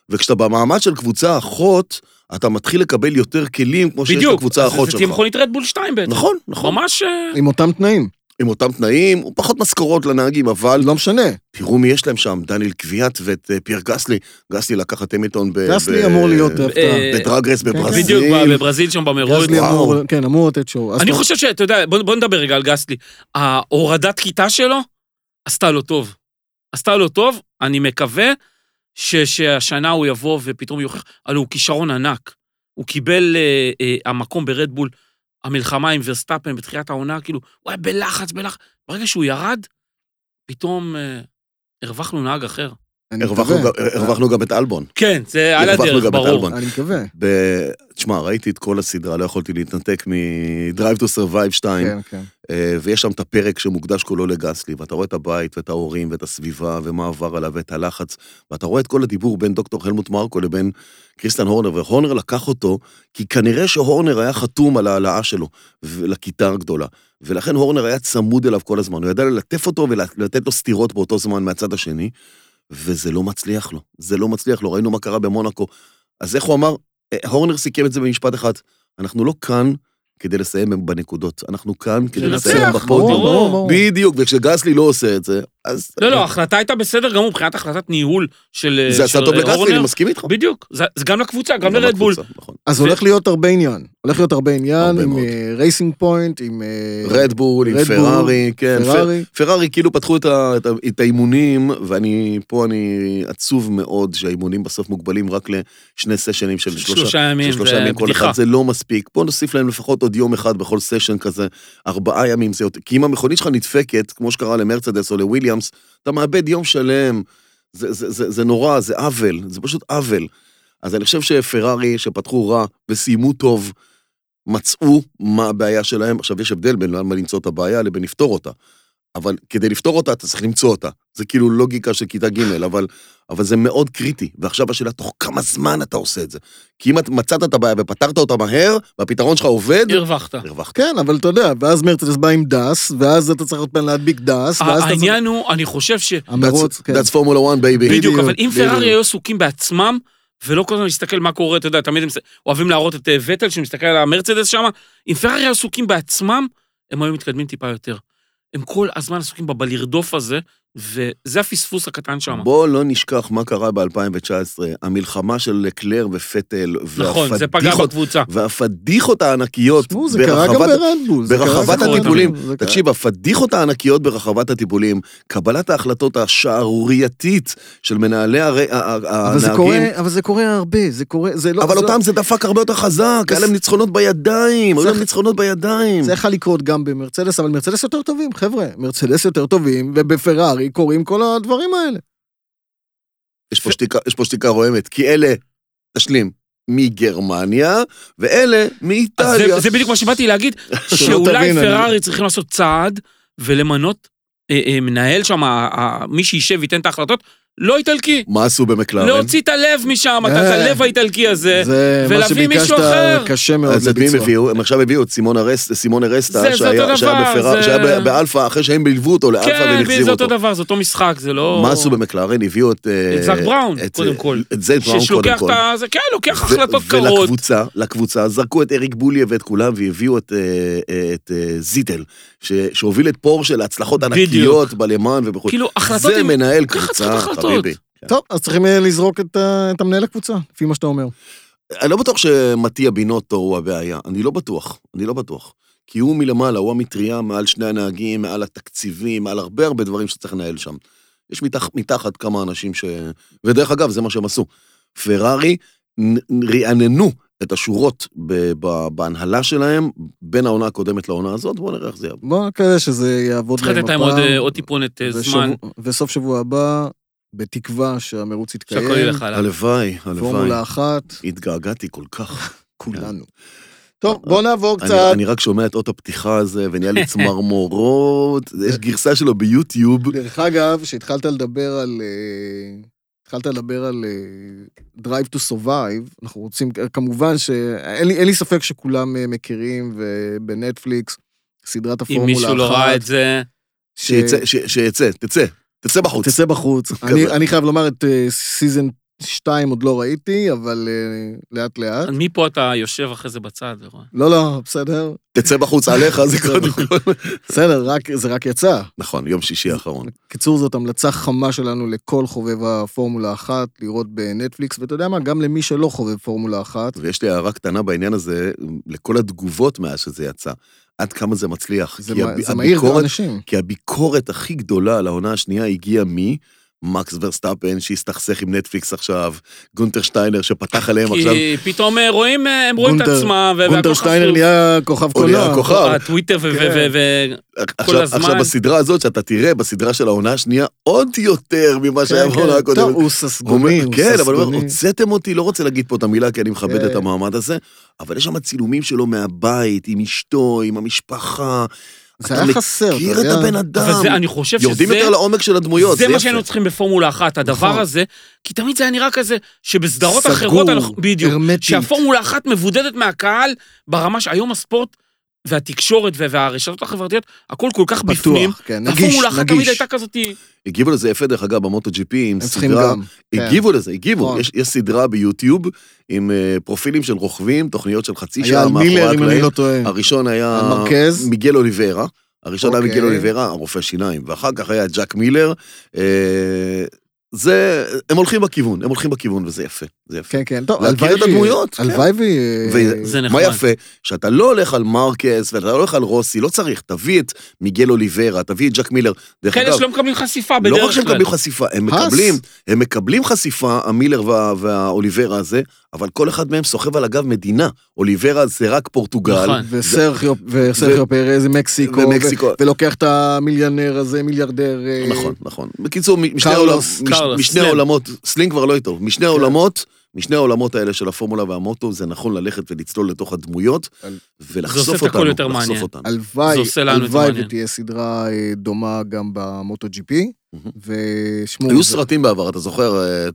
[SPEAKER 3] וכשאתה במעמד של קבוצה אחות, אתה מתחיל לקבל יותר כלים כמו שיש
[SPEAKER 2] בדיוק,
[SPEAKER 3] לקבוצה
[SPEAKER 2] אז
[SPEAKER 3] האחות
[SPEAKER 2] זה תהיה
[SPEAKER 3] שלך.
[SPEAKER 2] מכונית רדבול 2 בעצם.
[SPEAKER 3] נכון, נכון.
[SPEAKER 2] ממש... אה,
[SPEAKER 1] עם אותם תנאים.
[SPEAKER 3] עם אותם תנאים, פחות משכורות לנהגים, אבל
[SPEAKER 1] לא משנה.
[SPEAKER 3] תראו מי יש להם שם, דניאל קביאט ואת אה, פייר גסלי. גסלי לקח את המילטון ב...
[SPEAKER 1] גסלי
[SPEAKER 3] ב-
[SPEAKER 1] אמור להיות כן, הפתעה.
[SPEAKER 2] אה,
[SPEAKER 3] בדרגרס בברזיל.
[SPEAKER 2] בדיוק, ב- בברזיל שם במרוץ.
[SPEAKER 1] גסלי
[SPEAKER 3] וואו.
[SPEAKER 1] אמור, כן, אמור לתת שואו. אז
[SPEAKER 2] אני
[SPEAKER 1] טוב,
[SPEAKER 2] חושב שאתה יודע, בוא בוא נדבר רגע על גסלי. ההורדת כיתה שלו עשתה לו טוב. עשתה לו טוב, אני מקווה ש- שהשנה הוא יבוא ופתאום יוכיח, הלוא הוא כישרון ענק. הוא קיבל אה, אה, המקום ברדבול, המלחמה עם ורסטאפן בתחילת העונה, כאילו, הוא היה בלחץ, בלחץ. ברגע שהוא ירד, פתאום אה, הרווחנו נהג אחר.
[SPEAKER 1] אני
[SPEAKER 3] הרווחנו
[SPEAKER 1] מקווה.
[SPEAKER 3] גם- הרווחנו אה, גם את אלבון.
[SPEAKER 2] כן, זה על
[SPEAKER 3] הרווחנו
[SPEAKER 2] הדרך,
[SPEAKER 3] גם את
[SPEAKER 2] ברור.
[SPEAKER 3] אלבון.
[SPEAKER 1] אני מקווה.
[SPEAKER 3] ב- תשמע, ראיתי את כל הסדרה, לא יכולתי להתנתק מ-Drive to Survive 2.
[SPEAKER 1] כן, כן.
[SPEAKER 3] אה, ויש שם את הפרק שמוקדש כולו לגסלי, ואתה רואה את הבית ואת ההורים ואת הסביבה ומה עבר עליו ואת הלחץ, ואתה רואה את כל הדיבור בין דוקטור חלמוט מרקו לבין קריסטן הורנר, והורנר לקח אותו, כי כנראה שהורנר היה חתום על ההעלאה שלו ו- לכיתה הגדולה, ולכן הורנר היה צמוד אליו כל הזמן, הוא ידע ללטף אותו ולתת לו סטירות באותו זמן מהצד השני, וזה לא מצליח לו, זה לא מצליח לו, ראינו מה קרה במונאקו. אז איך הוא אמר? אה, הורנר סיכם את זה במשפט אחד, אנחנו לא כאן כדי לסיים בנקודות, אנחנו כאן כדי
[SPEAKER 2] לנצח,
[SPEAKER 3] לסיים
[SPEAKER 2] ברור,
[SPEAKER 3] בפודיום.
[SPEAKER 2] ברור.
[SPEAKER 3] בדיוק, וכשגסלי לא עושה את זה, אז...
[SPEAKER 2] לא, לא, ההחלטה הייתה בסדר גמור מבחינת החלטת ניהול של אה,
[SPEAKER 3] כן. זה עשה
[SPEAKER 2] של
[SPEAKER 3] טוב לגסלי,
[SPEAKER 2] הורנר.
[SPEAKER 3] אני מסכים איתך.
[SPEAKER 2] בדיוק, זה זה גם לקבוצה, גם לרדבול.
[SPEAKER 3] הקבוצה, נכון.
[SPEAKER 1] אז
[SPEAKER 2] ו-
[SPEAKER 1] הולך להיות הרבה עניין. הולך להיות הרבה עניין
[SPEAKER 3] הרבה
[SPEAKER 1] עם
[SPEAKER 3] מאוד.
[SPEAKER 1] רייסינג פוינט, עם אה,
[SPEAKER 3] רדבול, עם
[SPEAKER 1] רדבול,
[SPEAKER 3] פרארי, כן. פר-
[SPEAKER 1] פרארי.
[SPEAKER 3] פרארי כאילו פתחו את ה- את ה- את האימונים, ואני, פה אני עצוב מאוד שהאימונים בסוף מוגבלים רק לשני סשנים של שלושה.
[SPEAKER 2] שלושה ימים,
[SPEAKER 3] של שלושה
[SPEAKER 2] זה
[SPEAKER 3] ימים כל
[SPEAKER 2] בדיחה.
[SPEAKER 3] אחד, זה לא מספיק. בוא נוסיף להם לפחות עוד יום אחד בכל סשן כזה, ארבעה ימים זה יותר. כי אם המכונית שלך נדפקת, כמו שקרה למרצדס או לוויליאמס, אתה מאבד יום שלם. זה, זה, זה, זה נורא, זה עוול, זה פשוט עוול. אז אני חושב שפרארי, שפתחו רע וסיימו טוב, מצאו מה הבעיה שלהם. עכשיו, יש הבדל בין למה למצוא את הבעיה לבין לפתור אותה. אבל כדי לפתור אותה, אתה צריך למצוא אותה. זה כאילו לוגיקה של כיתה ג', אבל, אבל זה מאוד קריטי. ועכשיו השאלה, תוך כמה זמן אתה עושה את זה? כי אם את מצאת את הבעיה ופתרת אותה מהר, והפתרון שלך עובד,
[SPEAKER 2] הרווחת.
[SPEAKER 3] הרווחת.
[SPEAKER 1] כן, אבל אתה יודע, ואז מרצדס בא עם דס, ואז אתה צריך עוד פעם להדביק דס, ואז אתה צריך...
[SPEAKER 2] העניין הוא, אני חושב ש...
[SPEAKER 1] המרוץ,
[SPEAKER 3] That's-
[SPEAKER 1] כן.
[SPEAKER 3] That's Formula 1, baby.
[SPEAKER 2] בדיוק, אבל אם לא
[SPEAKER 1] בדיוק.
[SPEAKER 2] פרארי היו עסוקים בעצמם, ולא כל הזמן להסתכל מה קורה, אתה יודע, תמיד הם מס- אוהבים להראות את אה, וטל שמסתכל על המרצדס שם, אם פרארי היו עסוקים בעצמם, הם היו מתקדמים טיפה יותר. הם כל הזמן עסוקים בבלרדוף הזה, וזה הפספוס הקטן שם.
[SPEAKER 3] בואו לא נשכח מה קרה ב-2019, המלחמה של לקלר ופטל,
[SPEAKER 2] נכון, זה פגע
[SPEAKER 3] והפדיחות-
[SPEAKER 2] בקבוצה.
[SPEAKER 3] והפדיחות הענקיות
[SPEAKER 1] תשמעו, זה קרה גם
[SPEAKER 3] ברחבת-
[SPEAKER 1] ברנדבול. זה קרה גם
[SPEAKER 3] ברחבת
[SPEAKER 1] ברנדבול.
[SPEAKER 3] הטיפולים.
[SPEAKER 1] זה קרה.
[SPEAKER 3] כן. תקשיב, הפדיחות הענקיות ברחבת הטיפולים, קבלת ההחלטות השערורייתית של מנהלי הר... ה- ה-
[SPEAKER 1] אבל זה
[SPEAKER 3] הנהגים,
[SPEAKER 1] קורה, אבל זה קורה הרבה, זה קורה, זה לא...
[SPEAKER 3] אבל
[SPEAKER 1] זה לא-
[SPEAKER 3] אותם זה דפק הרבה יותר חזק, היה להם ניצחונות בידיים, היו
[SPEAKER 1] זה-
[SPEAKER 3] להם ניצחונות בידיים.
[SPEAKER 1] זה יכול לקרות גם במרצדס, אבל מרצדס יותר טובים, חבר'ה. מרצדס יותר טובים, ובפרארי קורים כל הדברים האלה.
[SPEAKER 3] יש פה שתיקה- יש פה שתיקה רועמת, כי אלה, תשלים, מגרמניה, ואלה
[SPEAKER 2] אז
[SPEAKER 3] מאיטליה.
[SPEAKER 2] זה, זה בדיוק מה שבאתי להגיד,
[SPEAKER 1] שלא
[SPEAKER 2] שאולי
[SPEAKER 1] תבין, אני-
[SPEAKER 2] פרארי צריכים לעשות צעד ולמנות אה, אה, מנהל שם, אה, אה, מי שישב וייתן את ההחלטות, לא איטלקי.
[SPEAKER 3] מה עשו במקלרן?
[SPEAKER 2] להוציא את הלב משם, את את
[SPEAKER 1] אה.
[SPEAKER 2] הלב האיטלקי הזה.
[SPEAKER 1] זה מה
[SPEAKER 2] ולהביא מישהו
[SPEAKER 1] שביקשת
[SPEAKER 2] אחר.
[SPEAKER 1] קשה מאוד
[SPEAKER 3] אז את מי הם
[SPEAKER 1] לביצוע.
[SPEAKER 3] הביאו? הם עכשיו הביאו את סימון ארס- סימון
[SPEAKER 2] זה-
[SPEAKER 3] ארסטה,
[SPEAKER 2] זה
[SPEAKER 3] שהיה
[SPEAKER 2] אותו
[SPEAKER 3] שהיה
[SPEAKER 2] דבר,
[SPEAKER 3] בפרארי-
[SPEAKER 2] זה-
[SPEAKER 3] שהיה באלפא, אחרי שהם בלוו אותו לאלפא
[SPEAKER 2] כן,
[SPEAKER 3] והחזירו
[SPEAKER 2] זה
[SPEAKER 3] אותו.
[SPEAKER 2] אותו דבר, זה אותו משחק, זה לא...
[SPEAKER 3] מה עשו במקלרן? הביאו את... אה,
[SPEAKER 2] את זאק בראון,
[SPEAKER 3] את,
[SPEAKER 2] קודם
[SPEAKER 3] אה,
[SPEAKER 2] כל.
[SPEAKER 3] את זאק בראון קודם
[SPEAKER 2] שלוקח
[SPEAKER 3] כל.
[SPEAKER 2] את ה... זה- כן, לוקח
[SPEAKER 3] ו-
[SPEAKER 2] החלטות קרות.
[SPEAKER 3] ולקבוצה, לקבוצה, זרקו את אריק בוליה ואת כולם והביאו את, אה, אה, את אה, זיטל, ש- שהוביל את פורשה להצלחות ענקיות
[SPEAKER 2] בדיוק.
[SPEAKER 3] בלמן ובחוץ.
[SPEAKER 2] כאילו, החלטות
[SPEAKER 3] זה
[SPEAKER 2] עם...
[SPEAKER 3] מנהל
[SPEAKER 2] ככה
[SPEAKER 3] קבוצה,
[SPEAKER 2] צריך החלטות.
[SPEAKER 3] חביבי.
[SPEAKER 1] טוב, אז צריכים אה, לזרוק את ה- את המנהל הקבוצה, לפי מה שאתה אומר.
[SPEAKER 3] אני לא בטוח שמטיה בינוטו הוא הבעיה, אני לא בטוח, אני לא בטוח. כי הוא מלמעלה, הוא המטריה מעל שני הנהגים, מעל התקציבים, מעל הרבה הרבה דברים שצריך לנהל שם. יש מתח, מתחת כמה אנשים ש... ודרך אגב, זה מה שהם עשו. פרארי נ- רעננו את השורות ב- ב- בהנהלה שלהם בין העונה הקודמת לעונה הזאת, בואו נראה איך זה יעבור.
[SPEAKER 1] בוא נקווה שזה יעבוד
[SPEAKER 2] צריך
[SPEAKER 1] להם
[SPEAKER 2] לתת להם עוד, אה, עוד טיפונת אה, זמן,
[SPEAKER 1] ושבוע- וסוף שבוע הבא, בתקווה שהמרוץ יתקיים.
[SPEAKER 2] שהכל ילך עליו.
[SPEAKER 3] כן, הלוואי,
[SPEAKER 1] פורמולה
[SPEAKER 3] הלוואי.
[SPEAKER 1] אחת,
[SPEAKER 3] התגעגעתי כל כך.
[SPEAKER 1] כולנו. טוב, בוא נעבור
[SPEAKER 3] אני-
[SPEAKER 1] קצת
[SPEAKER 3] אני רק שומע את אות הפתיחה הזה, ונהיה לי צמרמורות, יש גרסה שלו ביוטיוב.
[SPEAKER 1] דרך אגב, כשהתחלת לדבר על... אה, התחלת לדבר על אה, Drive to Survive, אנחנו רוצים, כמובן שאין לי, אין לי ספק שכולם אה, מכירים, ובנטפליקס, סדרת
[SPEAKER 2] אם
[SPEAKER 1] הפורמולה
[SPEAKER 2] מישהו לא ראה את זה,
[SPEAKER 1] ש-
[SPEAKER 3] שיצא, ש- שיצא, תצא, תצא בחוץ.
[SPEAKER 1] תצא בחוץ.
[SPEAKER 3] כזה.
[SPEAKER 1] אני, אני חייב לומר את סיזן 2 עוד לא ראיתי, אבל אה, לאט לאט.
[SPEAKER 2] אז מפה אתה יושב אחרי זה בצד ורואה.
[SPEAKER 1] לא, לא, בסדר.
[SPEAKER 3] תצא בחוץ עליך, זה
[SPEAKER 1] תצא
[SPEAKER 3] קודם כל.
[SPEAKER 1] בסדר, רק, זה רק יצא.
[SPEAKER 3] נכון, יום שישי האחרון.
[SPEAKER 1] קיצור, זאת המלצה חמה שלנו לכל חובב הפורמולה אחת, לראות בנטפליקס, ואתה יודע מה, גם למי שלא חובב פורמולה אחת,
[SPEAKER 3] ויש לי הערה קטנה בעניין הזה, לכל התגובות מאז שזה יצא. עד כמה זה מצליח.
[SPEAKER 1] זה,
[SPEAKER 3] כי
[SPEAKER 1] מה,
[SPEAKER 3] הב-
[SPEAKER 1] זה מהיר
[SPEAKER 3] הביקורת-
[SPEAKER 1] לאנשים.
[SPEAKER 3] כי הביקורת הכי גדולה על העונה השנייה הגיעה ממקס ורסטאפן, שהסתכסך עם נטפליקס עכשיו, גונטר שטיינר שפתח עליהם עכשיו.
[SPEAKER 2] כי פתאום אה, רואים, אה, הם רואים את
[SPEAKER 1] גונטר-
[SPEAKER 2] עצמם, ו- והכל
[SPEAKER 1] גונטר שטיינר
[SPEAKER 2] חשוף.
[SPEAKER 1] נהיה כוכב
[SPEAKER 3] הוא נהיה
[SPEAKER 1] קולנוע.
[SPEAKER 3] כוכב.
[SPEAKER 2] הטוויטר ו-
[SPEAKER 1] כן.
[SPEAKER 2] ו- ו-
[SPEAKER 3] עכשיו,
[SPEAKER 2] הזמן-
[SPEAKER 3] עכשיו בסדרה הזאת שאתה תראה, בסדרה של העונה השנייה, עוד יותר ממה
[SPEAKER 1] כן,
[SPEAKER 3] שהיה
[SPEAKER 1] כן.
[SPEAKER 3] בעונה הקודמת.
[SPEAKER 1] טוב, הוא ססגוני, הוא
[SPEAKER 3] כן, אבל לא הוא אומר,
[SPEAKER 1] ססגוני.
[SPEAKER 3] הוצאתם אותי, לא רוצה להגיד פה את המילה, כי אני מכבד
[SPEAKER 1] כן.
[SPEAKER 3] את המעמד הזה, אבל יש שם צילומים שלו מהבית, עם אשתו, עם המשפחה.
[SPEAKER 1] זה
[SPEAKER 3] אתה
[SPEAKER 1] היה חסר, אתה
[SPEAKER 3] מכיר את
[SPEAKER 1] יודע.
[SPEAKER 3] הבן
[SPEAKER 2] ו...
[SPEAKER 3] אדם.
[SPEAKER 2] אבל זה, אני חושב שזה...
[SPEAKER 3] יורדים יותר לעומק של הדמויות,
[SPEAKER 2] זה מה
[SPEAKER 3] יפה.
[SPEAKER 2] שהיינו צריכים בפורמולה אחת, הדבר
[SPEAKER 1] נכון.
[SPEAKER 2] הזה, כי תמיד זה היה נראה כזה, שבסדרות
[SPEAKER 1] סגור,
[SPEAKER 2] אחרות, אנחנו- בדיוק,
[SPEAKER 1] הרמטית.
[SPEAKER 2] שהפורמולה אחת מבודדת מהקהל, ברמה שהיום הספורט והתקשורת וה- והרשתות החברתיות, הכל כל כך
[SPEAKER 1] פתוח,
[SPEAKER 2] בפנים.
[SPEAKER 1] כן, נגיש,
[SPEAKER 2] הפורמולה אחת תמיד
[SPEAKER 1] נגיש.
[SPEAKER 2] הייתה כזאת...
[SPEAKER 3] הגיבו לזה יפה, דרך אגב, במוטו ג'י פי, עם
[SPEAKER 1] הם צריכים
[SPEAKER 3] סדרה.
[SPEAKER 1] גם. כן.
[SPEAKER 3] הגיבו לזה, הגיבו.
[SPEAKER 1] נכון.
[SPEAKER 3] יש יש סדרה ביוטיוב עם אה, פרופילים של רוכבים, תוכניות של חצי
[SPEAKER 1] היה
[SPEAKER 3] שעה
[SPEAKER 1] על
[SPEAKER 3] מאחורי
[SPEAKER 1] מילר, אם אני
[SPEAKER 3] הקלעים.
[SPEAKER 1] לא טועה.
[SPEAKER 3] הראשון היה...
[SPEAKER 1] על מרקז?
[SPEAKER 3] מיגל אוליברה. הראשון היה
[SPEAKER 1] אוקיי.
[SPEAKER 3] מיגל אוליברה, הרופא שיניים. ואחר כך היה ג'ק מילר. אה, זה... הם הולכים בכיוון, הם הולכים בכיוון, וזה יפה. זה יפה.
[SPEAKER 1] כן, כן, טוב,
[SPEAKER 3] להכיר
[SPEAKER 1] הלוואי
[SPEAKER 3] את
[SPEAKER 1] וי-
[SPEAKER 3] הדמויות, כן.
[SPEAKER 1] הלוואי ו...
[SPEAKER 2] זה
[SPEAKER 3] מה
[SPEAKER 2] נחמד.
[SPEAKER 3] יפה? שאתה לא הולך על מרקס ואתה לא הולך על רוסי, לא צריך. תביא את מיגל אוליברה, תביא את ג'ק מילר. דרך
[SPEAKER 2] כאלה
[SPEAKER 3] אגב,
[SPEAKER 2] שלא מקבלים חשיפה
[SPEAKER 3] לא רק
[SPEAKER 2] בדרך
[SPEAKER 3] שהם
[SPEAKER 2] כלל.
[SPEAKER 3] מקבלים חשיפה, הם
[SPEAKER 1] האס.
[SPEAKER 3] מקבלים, הם מקבלים חשיפה, המילר וה- והאוליברה הזה, אבל כל אחד מהם סוחב על הגב מדינה. אוליברה זה רק פורטוגל,
[SPEAKER 2] נכון.
[SPEAKER 1] וסרחיו וסרחיו פרז ממקסיקו,
[SPEAKER 3] ומקסיקו.
[SPEAKER 1] ו- ולוקח את המיליונר הזה, מיליארדר. אה,
[SPEAKER 3] נכון, נכון. בקיצור, מ- משני
[SPEAKER 1] קרלוס,
[SPEAKER 3] העולמות,
[SPEAKER 2] קרלוס, כן.
[SPEAKER 3] משני
[SPEAKER 2] סלם.
[SPEAKER 3] העולמות, סלינג כבר לא איתו, משני העולמות, משני העולמות האלה של הפורמולה והמוטו, זה נכון ללכת ולצלול לתוך הדמויות,
[SPEAKER 1] על-
[SPEAKER 3] ולחשוף
[SPEAKER 2] זה
[SPEAKER 3] אותנו.
[SPEAKER 2] עושה את הכל יותר
[SPEAKER 3] לחשוף
[SPEAKER 2] מעניין.
[SPEAKER 3] אותנו.
[SPEAKER 1] הלוואי,
[SPEAKER 2] זה עושה לנו את
[SPEAKER 1] הלוואי
[SPEAKER 2] המעניין.
[SPEAKER 1] ותהיה סדרה אה, דומה גם במוטו ג'י פי,
[SPEAKER 3] מהמם.
[SPEAKER 1] ושמו...
[SPEAKER 3] היו
[SPEAKER 1] זה-
[SPEAKER 3] סרטים בעבר, אתה זוכר? אה,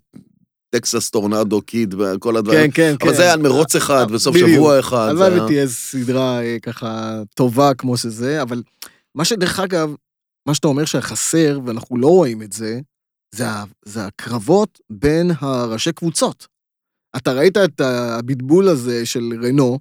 [SPEAKER 3] טקסס, טורנדו, קיד, כל
[SPEAKER 1] כן,
[SPEAKER 3] הדברים.
[SPEAKER 1] כן, כן.
[SPEAKER 3] אבל זה היה על מרוץ אחד, בסוף
[SPEAKER 1] בדיוק.
[SPEAKER 3] שבוע אחד. זה
[SPEAKER 1] הלוואי
[SPEAKER 3] היה-
[SPEAKER 1] ותהיה סדרה אה, ככה טובה כמו שזה, אבל מה שדרך אגב, מה שאתה אומר שהחסר, ואנחנו לא רואים את זה, זה, ה- זה הקרבות בין הראשי קבוצות. אתה ראית את הבלבול הזה של רנו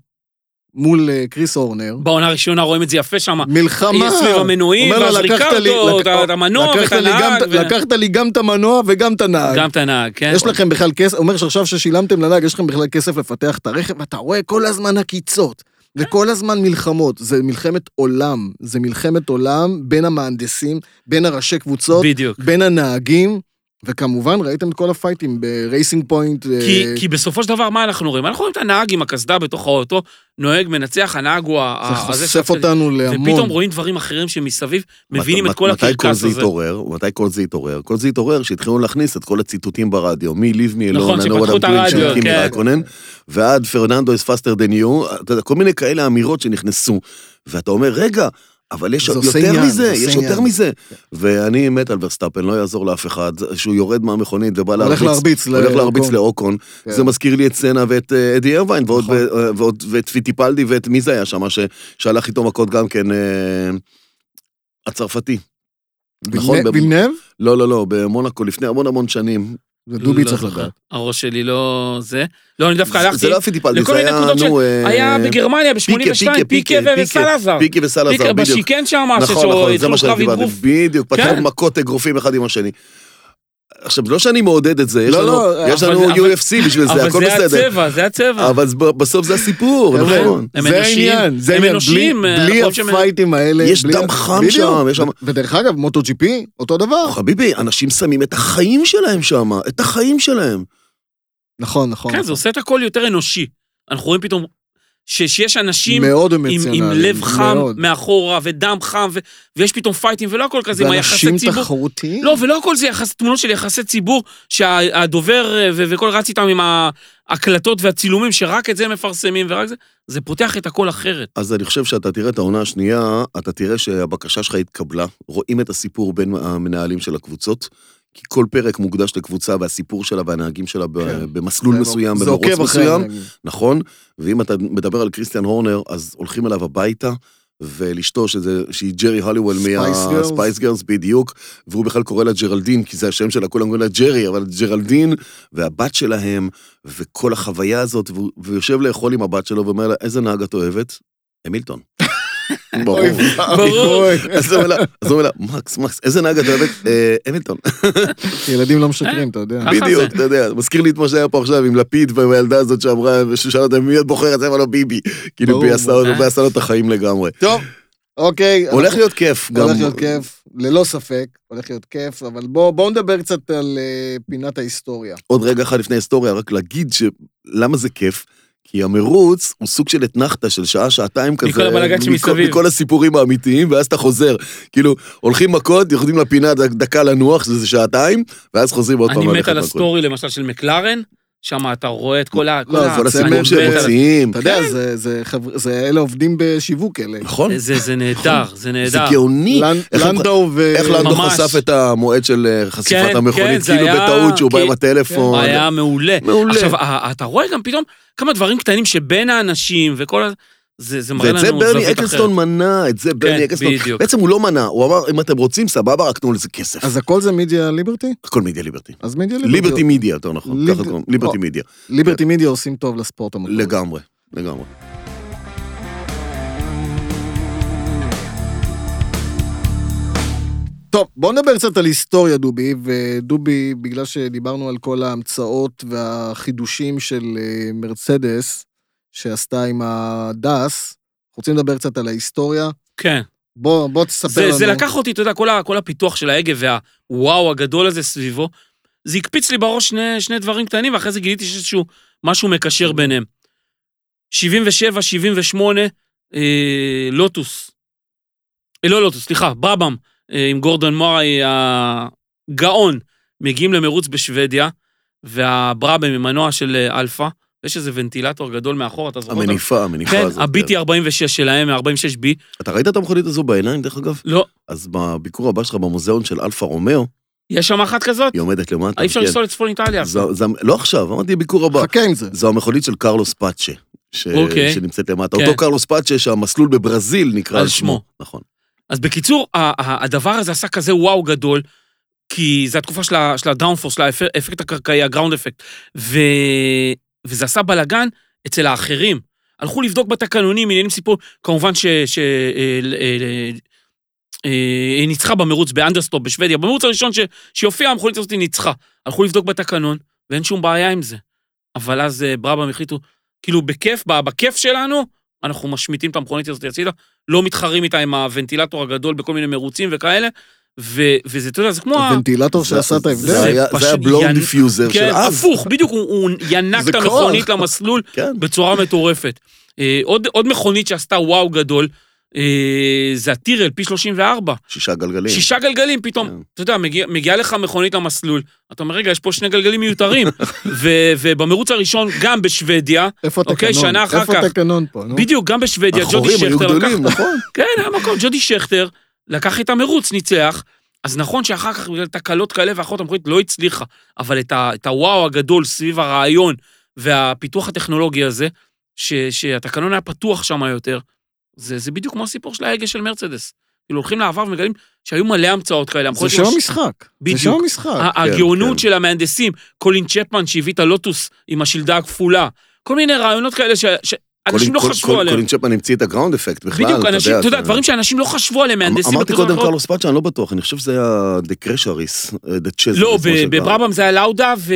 [SPEAKER 1] מול אה, קריס אורנר,
[SPEAKER 2] בעונה הראשונה רואים את זה יפה שם.
[SPEAKER 1] מלחמה,
[SPEAKER 2] היא סביב המנועים,
[SPEAKER 1] אומר לה,
[SPEAKER 2] ואז
[SPEAKER 1] לקחת לי-
[SPEAKER 2] ריקרדו,
[SPEAKER 1] לק-
[SPEAKER 2] את המנוע ואת
[SPEAKER 1] לקחת לי גם-
[SPEAKER 2] הנהג. ו-
[SPEAKER 1] לקחת לי גם את המנוע וגם את הנהג.
[SPEAKER 2] גם את הנהג, כן.
[SPEAKER 1] יש לכם בכלל כסף, אומר שעכשיו ששילמתם לנהג, יש לכם בכלל כסף לפתח את הרכב, ואתה רואה כל הזמן עקיצות, וכל הזמן מלחמות. זה מלחמת עולם, זה מלחמת עולם בין המהנדסים, בין הראשי קבוצות,
[SPEAKER 2] בדיוק.
[SPEAKER 1] בין הנהגים, וכמובן ראיתם את כל הפייטים אה, ברייסינג פוינט.
[SPEAKER 3] אה,
[SPEAKER 2] כי, כי בסופו של דבר, מה אנחנו רואים? אנחנו רואים את הנהג עם הקסדה בתוך האוטו, נוהג, מנצח, הנהג הוא ה-
[SPEAKER 1] זה
[SPEAKER 2] ה- הזה
[SPEAKER 1] חושף
[SPEAKER 2] שעושה את אה, זה.
[SPEAKER 1] אותנו להמון.
[SPEAKER 2] ופתאום רואים דברים אחרים שמסביב, מבינים
[SPEAKER 3] מת-
[SPEAKER 2] את כל
[SPEAKER 3] מתי
[SPEAKER 2] הקרקס
[SPEAKER 3] זה
[SPEAKER 2] הזה.
[SPEAKER 3] התעורר? מתי כל זה התעורר? כל זה התעורר כשהתחילו להכניס את כל הציטוטים ברדיו, מי ליב מי לא, אלון,
[SPEAKER 2] נכון,
[SPEAKER 3] I know
[SPEAKER 2] שפתחו
[SPEAKER 3] what I'm
[SPEAKER 2] את
[SPEAKER 3] doing
[SPEAKER 2] הרדיו,
[SPEAKER 3] של קימי
[SPEAKER 2] כן.
[SPEAKER 3] רייקונן, ועד פרננדו is faster than you, אתה יודע, כל מיני כאלה אמירות שנכנסו, ואתה אומר, רגע, אבל יש
[SPEAKER 1] זה עושה
[SPEAKER 3] יותר
[SPEAKER 1] עניין, זה
[SPEAKER 3] מזה,
[SPEAKER 1] עושה
[SPEAKER 3] יש
[SPEAKER 1] עניין.
[SPEAKER 3] יותר מזה. ואני מת על ורסטאפן, לא יעזור לאף אחד, שהוא יורד מהמכונית ובא
[SPEAKER 1] הולך
[SPEAKER 3] להרביץ.
[SPEAKER 1] להרביץ.
[SPEAKER 3] הולך
[SPEAKER 1] ל-
[SPEAKER 3] להרביץ
[SPEAKER 1] לאוקון.
[SPEAKER 3] לאוקון,
[SPEAKER 1] כן.
[SPEAKER 3] זה מזכיר לי את סצנה ואת אה, אדי ארווין, ועוד-
[SPEAKER 1] נכון.
[SPEAKER 3] ו- אה, ועוד- ואת פיטיפלדי ואת מי זה היה שם, ש- שהלך איתו מכות גם כן, אה, הצרפתי. נכון,
[SPEAKER 1] וילנב-
[SPEAKER 3] במ-
[SPEAKER 1] וילנב?
[SPEAKER 3] לא, לא, לא, במונאקו לפני המון המון שנים.
[SPEAKER 1] זה דובי
[SPEAKER 2] לא
[SPEAKER 1] צריך
[SPEAKER 2] זוכר.
[SPEAKER 1] לדעת.
[SPEAKER 2] הראש שלי לא זה. לא, אני דווקא
[SPEAKER 3] זה-
[SPEAKER 2] הלכתי,
[SPEAKER 3] זה לא הפיטיפלדי,
[SPEAKER 2] לכל
[SPEAKER 3] זה
[SPEAKER 2] מיני
[SPEAKER 3] היה,
[SPEAKER 2] נקודות של-
[SPEAKER 3] נו... אה,
[SPEAKER 2] היה בגרמניה ב-82,
[SPEAKER 3] פיקה,
[SPEAKER 2] פיקה
[SPEAKER 3] פיקה,
[SPEAKER 2] וסלאזר.
[SPEAKER 3] פיקי וסלאזר,
[SPEAKER 2] פיקה
[SPEAKER 3] בדיוק.
[SPEAKER 2] בשיקן שם,
[SPEAKER 3] נכון, נכון, זה מה
[SPEAKER 2] קרב
[SPEAKER 3] שדיברתי,
[SPEAKER 2] אגרוף.
[SPEAKER 3] בדיוק, פתחו
[SPEAKER 2] כן.
[SPEAKER 3] מכות אגרופים אחד עם השני. עכשיו, לא שאני מעודד את זה, יש
[SPEAKER 1] לא,
[SPEAKER 3] לנו-
[SPEAKER 1] לא,
[SPEAKER 3] יש
[SPEAKER 2] אבל-
[SPEAKER 3] לנו
[SPEAKER 2] אבל-
[SPEAKER 3] UFC בשביל זה,
[SPEAKER 2] אבל
[SPEAKER 3] הכל
[SPEAKER 2] זה
[SPEAKER 3] בסדר.
[SPEAKER 2] הצבע, זה הצבע. כן.
[SPEAKER 3] אבל זה- בסוף זה הסיפור,
[SPEAKER 1] חבר'ה,
[SPEAKER 3] נכון.
[SPEAKER 2] הם
[SPEAKER 1] זה
[SPEAKER 2] אנושיים.
[SPEAKER 1] העניין, זה
[SPEAKER 2] הם
[SPEAKER 1] העניין.
[SPEAKER 2] אנושיים,
[SPEAKER 1] בלי-
[SPEAKER 2] אה,
[SPEAKER 1] בלי
[SPEAKER 2] יכול להיות שהם-
[SPEAKER 1] הפייטים האלה.
[SPEAKER 3] יש
[SPEAKER 1] בלי-
[SPEAKER 3] דם חם
[SPEAKER 1] בדיוק.
[SPEAKER 3] שם, יש שם- נכון.
[SPEAKER 1] ו- ודרך אגב, מוטו ג'י פי, אותו דבר.
[SPEAKER 3] חביבי, אנשים שמים את החיים שלהם שם, את החיים שלהם.
[SPEAKER 1] נכון, נכון.
[SPEAKER 2] כן, זה עושה את הכל יותר אנושי. אנחנו רואים פתאום ש- שיש אנשים
[SPEAKER 1] מאוד
[SPEAKER 2] עם,
[SPEAKER 1] אמוציונלי.
[SPEAKER 2] עם לב חם
[SPEAKER 1] מאוד.
[SPEAKER 2] מאחורה, ודם חם, ו, ויש פתאום פייטים, ולא הכל כזה עם היחסי
[SPEAKER 1] ואנשים
[SPEAKER 2] ציבור.
[SPEAKER 1] תחרותיים.
[SPEAKER 2] לא, ולא הכל זה יחס, תמונות של יחסי ציבור, שהדובר ו- וכל רץ איתם עם ההקלטות והצילומים, שרק את זה מפרסמים ורק זה, זה פותח את הכל אחרת.
[SPEAKER 3] אז אני חושב שאתה תראה את העונה השנייה, אתה תראה שהבקשה שלך התקבלה, רואים את הסיפור בין המנהלים של הקבוצות, כי כל פרק מוקדש לקבוצה והסיפור שלה והנהגים שלה ב-
[SPEAKER 1] כן.
[SPEAKER 3] במסלול
[SPEAKER 1] זה-
[SPEAKER 3] מסוים,
[SPEAKER 1] זה
[SPEAKER 3] במרוץ
[SPEAKER 1] עוקב אחרי
[SPEAKER 3] מסוים,
[SPEAKER 1] הנהגים.
[SPEAKER 3] נכון? ואם אתה מדבר על קריסטיאן הורנר, אז הולכים אליו הביתה. ולאשתו, שזה- שהיא ג'רי הוליוול
[SPEAKER 1] Spice Girls.
[SPEAKER 3] מהספייס גרס, בדיוק, והוא בכלל קורא לה ג'רלדין, כי זה השם שלה, כולם קוראים לה ג'רי, אבל ג'רלדין, והבת שלהם, וכל החוויה הזאת, והוא והוא יושב לאכול עם הבת שלו ואומר לה, איזה נהג את אוהבת? המילטון. ברור.
[SPEAKER 1] אוי,
[SPEAKER 2] ברור.
[SPEAKER 1] אוי,
[SPEAKER 3] אז הוא אומר לה- אז הוא אומר לה, מקס, מקס, איזה נהג את אוהבת? "אה, המילטון.
[SPEAKER 1] ילדים לא משקרים, אתה יודע.
[SPEAKER 2] ככה
[SPEAKER 3] בדיוק,
[SPEAKER 2] זה.
[SPEAKER 3] אתה יודע, זה מזכיר לי את מה שהיה פה עכשיו עם לפיד והילדה הזאת שאמרה, ששאלה אותה מי את בוחרת, זה אמר לו ביבי. כאילו,
[SPEAKER 1] ברור,
[SPEAKER 3] היא עשתה
[SPEAKER 2] ברור. אה.
[SPEAKER 3] לו- היא עשתה לו את החיים לגמרי.
[SPEAKER 1] טוב, אוקיי.
[SPEAKER 3] הולך
[SPEAKER 1] אנחנו-
[SPEAKER 3] להיות כיף גם.
[SPEAKER 1] הולך להיות כיף, ללא ספק, הולך להיות כיף, אבל בואו בוא נדבר קצת על אה, פינת ההיסטוריה.
[SPEAKER 3] עוד רגע אחד לפני ההיסטוריה, רק להגיד ש- למה זה כיף. כי המרוץ הוא סוג של אתנחתה של שעה, שעתיים כזה.
[SPEAKER 2] מכל הבלגן
[SPEAKER 3] מכל-
[SPEAKER 2] שמסביב.
[SPEAKER 3] מכל הסיפורים האמיתיים, ואז אתה חוזר. כאילו, הולכים מכות, יורדים לפינה דק- דקה לנוח, שזה שעתיים, ואז חוזרים עוד פעם.
[SPEAKER 2] אני מת
[SPEAKER 3] ללכת
[SPEAKER 2] על
[SPEAKER 3] מכות.
[SPEAKER 2] הסטורי, למשל, של מקלרן, שם אתה רואה את כל ה... כל
[SPEAKER 1] לא,
[SPEAKER 2] ה-
[SPEAKER 3] כל
[SPEAKER 1] אני
[SPEAKER 3] הסיפור
[SPEAKER 1] מת
[SPEAKER 3] שהם
[SPEAKER 1] על-
[SPEAKER 3] מוציאים.
[SPEAKER 1] אתה יודע, זה, זה, חבר... זה אלה עובדים בשיווק אלה.
[SPEAKER 3] נכון,
[SPEAKER 2] זה זה נהדר, זה
[SPEAKER 3] זה
[SPEAKER 2] נהדר.
[SPEAKER 3] גאוני.
[SPEAKER 1] לנ...
[SPEAKER 3] איך הם-
[SPEAKER 1] לנדאו ו...
[SPEAKER 3] איך לנדו
[SPEAKER 2] ממש.
[SPEAKER 3] חשף את המועד של אה, חשיפת
[SPEAKER 2] כן, כן,
[SPEAKER 3] המכונית,
[SPEAKER 2] זה
[SPEAKER 3] כאילו
[SPEAKER 2] היה-
[SPEAKER 3] בטעות שהוא בא
[SPEAKER 2] כן,
[SPEAKER 3] עם הטלפון.
[SPEAKER 2] היה מעולה.
[SPEAKER 3] מעולה.
[SPEAKER 2] עכשיו, ה- אתה רואה גם פתאום כמה דברים קטנים שבין האנשים וכל ה... זה זה מראה
[SPEAKER 3] ואת
[SPEAKER 2] לנו זווית
[SPEAKER 3] זה
[SPEAKER 2] אחרת. כן,
[SPEAKER 3] ברני אקלסטון מנע, את זה ברני אקלסטון.
[SPEAKER 2] בדיוק.
[SPEAKER 3] בעצם הוא לא מנע, הוא אמר, אם אתם רוצים, סבבה, רק תנו לזה כסף.
[SPEAKER 1] אז הכל זה מידיה ליברטי?
[SPEAKER 3] הכל מדיה ליברטי.
[SPEAKER 1] אז מידיה ליברטי.
[SPEAKER 3] ליברטי מידיה, יותר נכון.
[SPEAKER 1] ליב-
[SPEAKER 3] ככה קוראים, ליברטי
[SPEAKER 1] לא.
[SPEAKER 3] מידיה.
[SPEAKER 1] ליברטי מידיה עושים טוב לספורט המוטורי.
[SPEAKER 3] לגמרי, לגמרי.
[SPEAKER 1] טוב, בואו נדבר קצת על היסטוריה, דובי, ודובי, בגלל שדיברנו על כל ההמצאות והחידושים של אה, מרצדס, שעשתה עם הדס, אנחנו רוצים לדבר קצת על ההיסטוריה.
[SPEAKER 2] כן.
[SPEAKER 1] בוא, בוא תספר
[SPEAKER 2] זה,
[SPEAKER 1] לנו.
[SPEAKER 2] זה לקח אותי, אתה יודע, כל, ה, כל הפיתוח של ההגה והוואו הגדול הזה סביבו, זה הקפיץ לי בראש שני, שני דברים קטנים, ואחרי זה גיליתי שיש איזשהו משהו מקשר ביניהם. 77, 78, אה, לוטוס. אה, לא לוטוס, סליחה, ברבם, אה, עם גורדון מוראי הגאון, מגיעים למרוץ בשוודיה, והברבה ממנוע של אה, אלפא, יש איזה ונטילטור גדול מאחור, אתה זוכר? אותו?
[SPEAKER 3] המניפה, המניפה
[SPEAKER 2] כן,
[SPEAKER 3] הזאת.
[SPEAKER 2] ה-BT 46 שלהם, ה-46B,
[SPEAKER 3] אתה ראית את המכונית הזו בעיניים, דרך אגב?
[SPEAKER 2] לא,
[SPEAKER 3] אז בביקור הבא שלך במוזיאון של אלפה רומאו,
[SPEAKER 2] יש שם אחת כזאת?
[SPEAKER 3] היא עומדת למטה.
[SPEAKER 2] אי אפשר
[SPEAKER 3] כן.
[SPEAKER 2] לנסוע לצפון איטליה.
[SPEAKER 3] זו- זו- לא עכשיו, אמרתי ביקור הבא.
[SPEAKER 1] חכה עם זה.
[SPEAKER 3] זו המכונית של קרלוס פאצ'ה, ש...
[SPEAKER 2] אוקיי.
[SPEAKER 3] שנמצאת למטה.
[SPEAKER 2] כן.
[SPEAKER 3] אותו קרלוס פאצ'ה שהמסלול בברזיל נקרא
[SPEAKER 2] על
[SPEAKER 3] על שמו.
[SPEAKER 2] שמו.
[SPEAKER 3] נכון.
[SPEAKER 2] אז בקיצור, ה- ה- הדבר הזה עשה כזה וואו גדול, כי זו התקופה של ה- של הדאונפורס, של האפ- האפקט הקרקעי, הגראונד אפקט, ו... וזה עשה בלאגן אצל האחרים. הלכו לבדוק בתקנונים, עניינים סיפור, כמובן ש... ש... אה, אה, אה, היא ניצחה במרוץ באנדרסטופ בשוודיה, במרוץ הראשון ש... שהופיעה המכונית הזאת היא ניצחה. הלכו לבדוק בתקנון, ואין שום בעיה עם זה. אבל אז אה, ברבם החליטו, כאילו בכיף, ב- בכיף שלנו, אנחנו משמיטים את המכונית הזאת הצידה, לא מתחרים איתה עם הוונטילטור הגדול בכל מיני מרוצים וכאלה, ו... וזה, אתה יודע, זה כמו... ה-
[SPEAKER 1] הוונטילטור שעשה את
[SPEAKER 3] זה
[SPEAKER 1] ההבדל.
[SPEAKER 3] היה-
[SPEAKER 2] פשוט
[SPEAKER 3] זה היה בלונד
[SPEAKER 2] ין-
[SPEAKER 3] דיפיוזר של
[SPEAKER 2] כן,
[SPEAKER 3] אז.
[SPEAKER 2] הפוך, בדיוק, הוא, הוא ינק
[SPEAKER 3] זה
[SPEAKER 2] את
[SPEAKER 3] כוח.
[SPEAKER 2] המכונית למסלול
[SPEAKER 3] כן.
[SPEAKER 2] בצורה מטורפת. אה, עוד, עוד מכונית שעשתה וואו גדול, אה, זה הטירל, פי 34.
[SPEAKER 3] שישה גלגלים.
[SPEAKER 2] שישה גלגלים פתאום,
[SPEAKER 3] כן.
[SPEAKER 2] אתה יודע, מגיע, מגיעה לך מכונית למסלול, אתה אומר, רגע, יש פה שני גלגלים מיותרים. ו, ובמרוץ הראשון, גם בשוודיה,
[SPEAKER 1] איפה
[SPEAKER 2] אוקיי,
[SPEAKER 1] התקנון?
[SPEAKER 2] שנה אחר
[SPEAKER 1] איפה
[SPEAKER 2] כך.
[SPEAKER 1] התקנון פה? נו?
[SPEAKER 2] בדיוק, גם בשוודיה, ג'ודי
[SPEAKER 3] החורים היו
[SPEAKER 2] שכטר לקח...
[SPEAKER 3] גדולים, נכון.
[SPEAKER 2] כן, היה מקום, ג'ודי שכטר לקח את המרוץ, ניצח. אז נכון שאחר כך, בגלל תקלות כאלה ואחרות, המכונית לא הצליחה, אבל את, ה, את הוואו הגדול סביב הרעיון והפיתוח הטכנולוגי הזה, ש, שהתקנון היה פתוח שם יותר, זה, זה בדיוק כמו הסיפור של ההגה של מרצדס. כאילו, הולכים לעבר ומגלים שהיו מלא המצאות כאלה.
[SPEAKER 1] זה
[SPEAKER 2] המכונית
[SPEAKER 1] שם
[SPEAKER 2] ממש-
[SPEAKER 1] המשחק. זה
[SPEAKER 2] נכון, בדיוק. אה-
[SPEAKER 1] שם המשחק.
[SPEAKER 2] ה-
[SPEAKER 3] כן,
[SPEAKER 2] הגאונות
[SPEAKER 3] כן.
[SPEAKER 2] של המהנדסים, קולין צ'פמן שהביא את הלוטוס עם השלדה הכפולה, כל מיני רעיונות כאלה ש- שאנשים
[SPEAKER 3] קולין-
[SPEAKER 2] לא
[SPEAKER 3] קול-
[SPEAKER 2] חשבו
[SPEAKER 3] קול-
[SPEAKER 2] עליהם.
[SPEAKER 3] קולין צ'פמן המציא את הגראונד אפקט בכלל,
[SPEAKER 2] בדיוק, אנשים, אתה יודע,
[SPEAKER 3] זה-
[SPEAKER 2] דברים שאנשים לא חשבו עליהם,
[SPEAKER 3] אמ-
[SPEAKER 2] מהנדסים
[SPEAKER 3] אמרתי
[SPEAKER 2] בתקופות
[SPEAKER 3] קודם
[SPEAKER 2] האחרות.
[SPEAKER 3] קרלוס פאצ'ה, אני לא בטוח, אני חושב שזה היה דה קרשריס, דה צ'זריס.
[SPEAKER 2] לא,
[SPEAKER 3] מה שנקרא.
[SPEAKER 2] ב- אה, בברבם זה היה לאודה ו...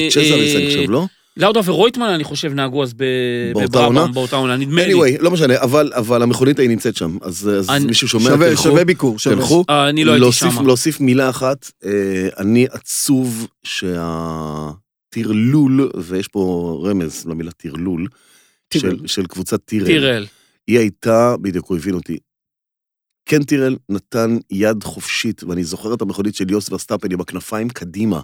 [SPEAKER 3] דה צ'זריס, אני חושב, לא?
[SPEAKER 2] לאודה ורויטמן, אני חושב, נהגו אז ב-
[SPEAKER 3] באותה עונה?
[SPEAKER 2] בברבם, באותה עונה, נדמה לי.
[SPEAKER 3] anyway, לא משנה, אבל אבל המכונית ההיא נמצאת שם, אז אז
[SPEAKER 2] אני-
[SPEAKER 3] מישהו שומע,
[SPEAKER 1] שווה-
[SPEAKER 3] תלכו,
[SPEAKER 1] שווה ביקור. שווה.
[SPEAKER 3] תלכו.
[SPEAKER 2] אה, אני לא הייתי
[SPEAKER 3] להוסיף-
[SPEAKER 2] שם.
[SPEAKER 3] להוסיף מילה אחת, אה, אני עצוב שהטרלול, ויש פה רמז למילה טרלול,
[SPEAKER 1] טירל.
[SPEAKER 3] של- של קבוצת טירל,
[SPEAKER 2] טירל.
[SPEAKER 3] היא הייתה, בדיוק הוא הבין אותי, כן טירל נתן יד חופשית, ואני זוכר את המכונית של יוס ורסטאפן עם הכנפיים קדימה,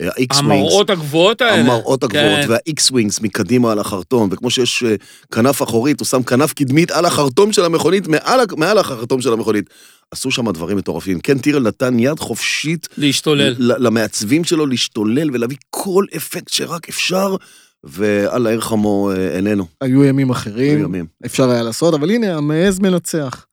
[SPEAKER 3] אה, האיקס-ווינגס.
[SPEAKER 2] המראות הגבוהות האלה.
[SPEAKER 3] המראות הגבוהות
[SPEAKER 2] כן.
[SPEAKER 3] וה-X-Wings מקדימה על החרטום, וכמו שיש אה, כנף אחורית, הוא שם כנף קדמית על החרטום של המכונית, מעל, ה- מעל החרטום של המכונית. עשו שם דברים מטורפים. כן, טירל נתן יד חופשית
[SPEAKER 2] להשתולל.
[SPEAKER 3] ל- למעצבים שלו להשתולל ולהביא כל אפקט שרק אפשר, ואללה, ערך חמו אה, איננו.
[SPEAKER 1] היו ימים אחרים.
[SPEAKER 3] היו ימים.
[SPEAKER 1] אפשר היה לעשות, אבל הנה, המעז מנצח.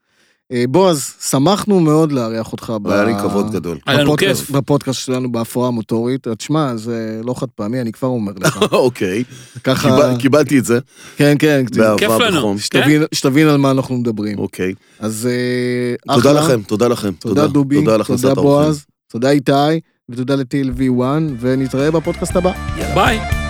[SPEAKER 1] אה, בועז, שמחנו מאוד לארח אותך ב-
[SPEAKER 3] היה לי כבוד גדול.
[SPEAKER 2] היה לנו
[SPEAKER 1] בפודקאסט-
[SPEAKER 2] כיף.
[SPEAKER 1] בפודקאסט שלנו בהפרעה המוטורית. תשמע, זה לא חד פעמי, אני כבר אומר לך.
[SPEAKER 3] אוקיי,
[SPEAKER 1] ככה,
[SPEAKER 3] קיבל- קיבלתי את זה
[SPEAKER 1] כן, כן,
[SPEAKER 3] באהבה
[SPEAKER 2] לנו. כן?
[SPEAKER 3] בחום.
[SPEAKER 1] שתבין- שתבין על מה אנחנו מדברים.
[SPEAKER 3] אוקיי.
[SPEAKER 1] אז אה,
[SPEAKER 3] תודה
[SPEAKER 1] אחלה.
[SPEAKER 3] לכם, תודה לכם.
[SPEAKER 1] תודה דובי,
[SPEAKER 3] תודה על הכנסת
[SPEAKER 1] תודה
[SPEAKER 3] האורחים.
[SPEAKER 1] בועז, תודה איתי, ותודה ל-TLV1, ונתראה בפודקאסט הבא.
[SPEAKER 2] ביי.